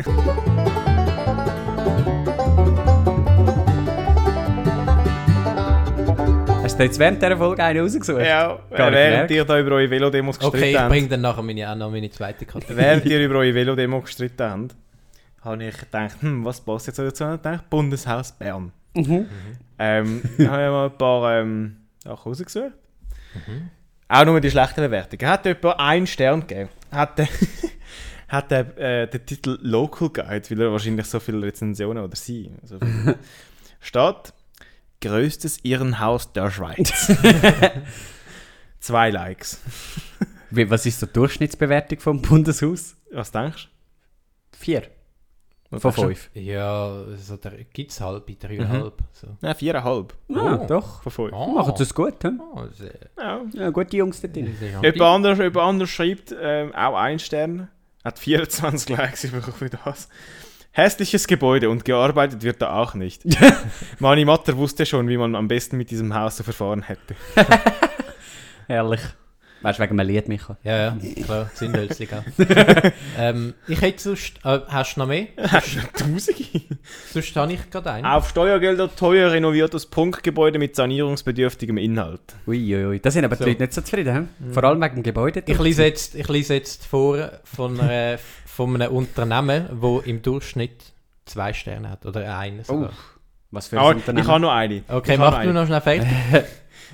Speaker 3: Hast du jetzt während dieser Folge einen rausgesucht?
Speaker 2: Ja, äh,
Speaker 3: Gar nicht
Speaker 2: während
Speaker 3: gemerkt.
Speaker 2: ihr da über eure Velodemos gestritten
Speaker 1: Okay, ich
Speaker 2: habt,
Speaker 1: bringe dann nachher meine, auch noch meine zweite Kategorie.
Speaker 2: während ihr über eure Velodemo gestritten habt, habe ich gedacht, hm, was passt jetzt dazu? Und Ich dachte, Bundeshaus Bern.
Speaker 3: Mhm.
Speaker 2: Ähm, dann habe ich mal ein paar ähm, Sachen rausgesucht.
Speaker 3: Mhm.
Speaker 2: Auch nur die schlechten Bewertungen. Hat jemand einen Stern gegeben? Hat der, hat der, äh, den Titel Local Guide, weil er wahrscheinlich so viele Rezensionen oder sie. So viele, steht Größtes Irrenhaus der Schweiz. Zwei Likes.
Speaker 3: Wie, was ist so die Durchschnittsbewertung vom Bundeshaus?
Speaker 2: Was denkst
Speaker 3: Vier
Speaker 2: du?
Speaker 3: von fünf.
Speaker 1: Ja, so der gibt's halb, bei dreieinhalb.
Speaker 2: Mhm.
Speaker 1: So.
Speaker 2: Nein, viereinhalb
Speaker 3: Ah,
Speaker 1: Oh.
Speaker 3: doch.
Speaker 2: von fünf.
Speaker 1: Oh.
Speaker 3: Machen sie es gut, hm?
Speaker 1: Oh, sehr-
Speaker 2: Ja.
Speaker 3: Ja, gute Jungs da drin.
Speaker 1: sehr
Speaker 2: Jemand
Speaker 1: anti-
Speaker 2: anders, jemand anders schreibt ähm, auch ein Stern. Hat 24 Likes bekommen für das. Hässliches Gebäude und gearbeitet wird da auch nicht. Mani Matter wusste schon, wie man am besten mit diesem Haus zu verfahren hätte.
Speaker 3: Herrlich. Weißt du, wegen einem Lied, Micha?
Speaker 1: Ja, ja, klar, sinnhölzig auch. ähm, ich hätte sonst, äh, hast du noch mehr?
Speaker 2: Tausende.
Speaker 1: Sonst habe ich gerade einen.
Speaker 2: Auf Steuergelder teuer renoviertes Punktgebäude mit sanierungsbedürftigem Inhalt.
Speaker 3: Uiuiui. Da sind aber
Speaker 1: So. Mhm.
Speaker 3: die Leute nicht so zufrieden, hm? Vor allem wegen dem Gebäude.
Speaker 1: Ich lese jetzt, ich lese jetzt vor von, einer, von einem Unternehmen, wo im Durchschnitt zwei Sterne hat oder einen sogar.
Speaker 3: Oh. Was
Speaker 1: Ah,
Speaker 3: für ein
Speaker 2: Aber ich
Speaker 3: Unternehmen.
Speaker 2: habe noch eine.
Speaker 1: okay,
Speaker 2: ich habe
Speaker 1: mach du
Speaker 2: einen.
Speaker 1: noch schnell fertig.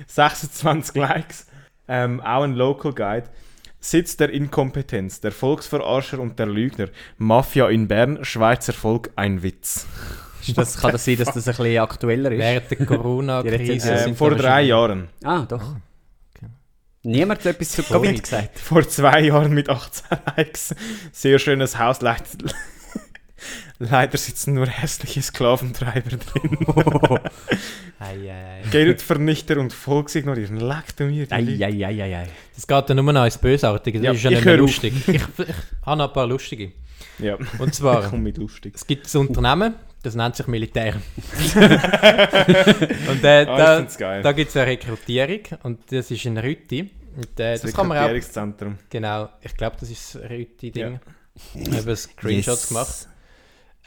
Speaker 2: 26 Likes. Ähm, auch ein Local Guide. Sitz der Inkompetenz, der Volksverarscher und der Lügner. Mafia in Bern, Schweizer Volk, ein Witz.
Speaker 3: Ist das, kann das sein, dass das ein bisschen aktueller ist?
Speaker 1: Während der
Speaker 3: Die Rezension.
Speaker 1: Corona-Krise.
Speaker 3: Ähm,
Speaker 1: sind
Speaker 2: Äh, vor
Speaker 1: da
Speaker 2: drei Jahren.
Speaker 3: Ah, doch.
Speaker 1: okay.
Speaker 3: Niemand hat etwas zu
Speaker 1: Sorry.
Speaker 3: Covid gesagt.
Speaker 2: Vor zwei Jahren mit 18 Likes. Sehr schönes Haus. Leid Leider sitzen nur hässliche Sklaventreiber drin.
Speaker 1: wahrscheinlich- Ei, ei, ei.
Speaker 2: Geldvernichter und Volksignorieren. Leck du mir die Leute.
Speaker 3: Eieieiei.
Speaker 1: Das geht dann nur noch ins Bösartige, das
Speaker 2: Ja,
Speaker 1: ist ja
Speaker 2: ich
Speaker 1: nicht mehr
Speaker 2: höre auf.
Speaker 1: lustig. Ich, ich habe noch ein paar lustige.
Speaker 2: Ja,
Speaker 1: Und zwar...
Speaker 2: komm mit lustig.
Speaker 1: Es gibt ein Unternehmen, das nennt sich Militär. und äh,
Speaker 2: Ah, ich
Speaker 1: da,
Speaker 2: Ah, find's geil.
Speaker 1: da gibt es eine Rekrutierung und das ist in Rütti. Und, äh, das
Speaker 2: Das
Speaker 1: kann man auch.
Speaker 2: Rekrutierungszentrum.
Speaker 1: Genau, ich glaube, das ist das rote Ding.
Speaker 2: Ja.
Speaker 1: Ich habe Screenshots
Speaker 3: Yes.
Speaker 1: gemacht.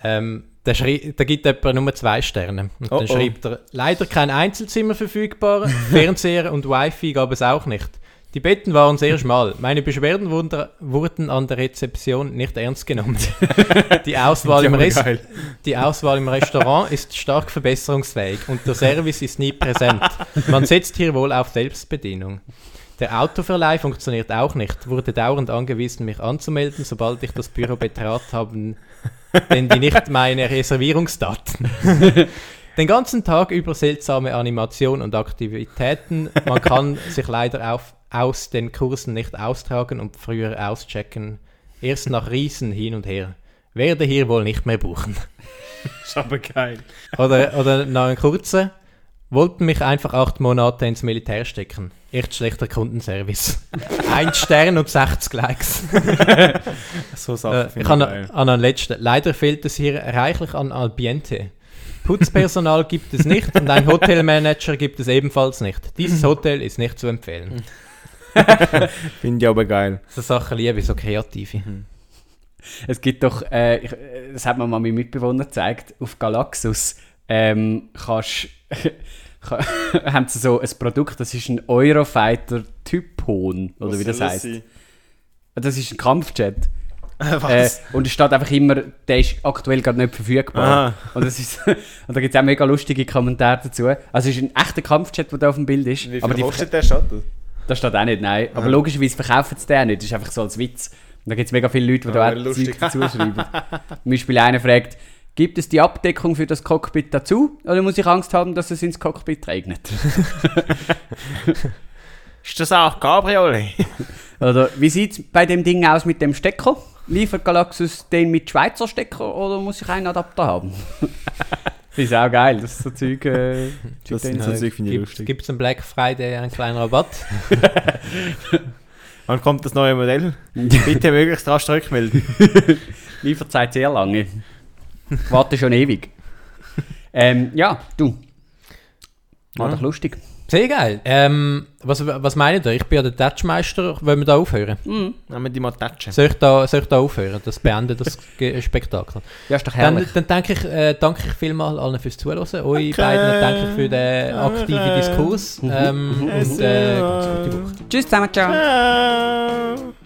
Speaker 1: Ähm, da, schrei- da gibt jemand nur zwei Sterne. Und
Speaker 2: Oh,
Speaker 1: dann
Speaker 2: oh.
Speaker 1: schreibt er, leider kein Einzelzimmer verfügbar, Fernseher und Wi-Fi gab es auch nicht. Die Betten waren sehr schmal. Meine Beschwerden wurden, wurden an der Rezeption nicht ernst genommen. Die Auswahl, im
Speaker 2: aber
Speaker 1: Rest,
Speaker 2: geil.
Speaker 1: die Auswahl im Restaurant ist stark verbesserungsfähig und der Service ist nie präsent. Man setzt hier wohl auf Selbstbedienung. Der Autoverleih funktioniert auch nicht. Wurde dauernd angewiesen, mich anzumelden, sobald ich das Büro betrat haben, denn die nicht meine Reservierungsdaten. Den ganzen Tag über seltsame Animationen und Aktivitäten. Man kann sich leider auf, aus den Kursen nicht austragen und früher auschecken. Erst nach Riesen hin und her. Werde hier wohl nicht mehr buchen.
Speaker 2: Ist aber geil.
Speaker 1: Oder, oder noch ein kurzer. Wollten mich einfach acht Monate ins Militär stecken. Echt schlechter Kundenservice. ein Stern und 60 Likes.
Speaker 2: So Sachen
Speaker 1: Äh,
Speaker 2: finde
Speaker 1: ich habe
Speaker 2: geil.
Speaker 1: noch- an einen letzten. Leider fehlt es hier reichlich an Ambiente. Putzpersonal gibt es nicht und ein Hotelmanager gibt es ebenfalls nicht. Dieses Hotel ist nicht zu empfehlen.
Speaker 2: Finde ich aber geil.
Speaker 1: So Sachen liebe ich, so kreative.
Speaker 3: Es gibt doch, äh, ich, äh, das hat mir mal mein Mitbewohner gezeigt, auf Galaxus ähm, kannst, kann, haben sie so ein Produkt, das ist ein Eurofighter Typhon, oder wie das heißt. Das ist ein Kampfjet. Äh,
Speaker 2: Was?
Speaker 3: und es steht einfach immer, der ist aktuell gerade nicht verfügbar.
Speaker 2: Aha.
Speaker 3: Und, das ist, und da gibt es auch mega lustige Kommentare dazu. Also es ist ein echter Kampfjet, der da auf dem Bild ist.
Speaker 2: Wie
Speaker 3: aber
Speaker 2: viel
Speaker 3: die,
Speaker 2: kostet der Shuttle?
Speaker 3: das steht auch nicht, nein. Aber logischerweise verkaufen sie den nicht, das ist einfach so als Witz. Und da gibt es mega viele Leute, die
Speaker 2: Ah,
Speaker 3: da auch
Speaker 2: lustig.
Speaker 3: Zeug dazu schreiben. Zum Beispiel einer fragt, gibt es die Abdeckung für das Cockpit dazu? Oder muss ich Angst haben, dass es ins Cockpit regnet?
Speaker 2: Ist das auch Cabriolet?
Speaker 3: Oder wie sieht es bei dem Ding aus mit dem Stecker? Liefert Galaxus den mit Schweizer Stecker oder muss ich einen Adapter haben? ist auch geil, das ist so Zeug. Äh,
Speaker 2: Das
Speaker 3: Zeug-
Speaker 2: sind so Zeug, finde ich lustig.
Speaker 1: Gibt es am Black Friday einen kleinen Rabatt?
Speaker 2: Wann kommt das neue Modell? Bitte möglichst rasch zurückmelden.
Speaker 3: Lieferzeit sehr lange. Ich Warte schon ewig. Ähm, ja, du. War
Speaker 2: Ja.
Speaker 3: doch lustig.
Speaker 1: Sehr geil. Ähm, was, was meint ihr? Ich bin ja der Touchmeister. Wollen wir da aufhören?
Speaker 2: Nehmen wir die mal tatschen.
Speaker 1: Soll ich da, soll ich da aufhören? Das beendet das Ge- äh, Spektakel.
Speaker 3: Ja, ist doch
Speaker 1: Dann,
Speaker 3: herrlich.
Speaker 1: dann danke ich, äh, danke ich vielmals allen fürs Zuhören. Euch beiden danke ich für den aktiven
Speaker 2: Danke.
Speaker 1: Diskurs. Ähm,
Speaker 3: Mhm.
Speaker 1: und äh, gute Woche.
Speaker 3: Tschüss zusammen, ciao.
Speaker 2: Ciao.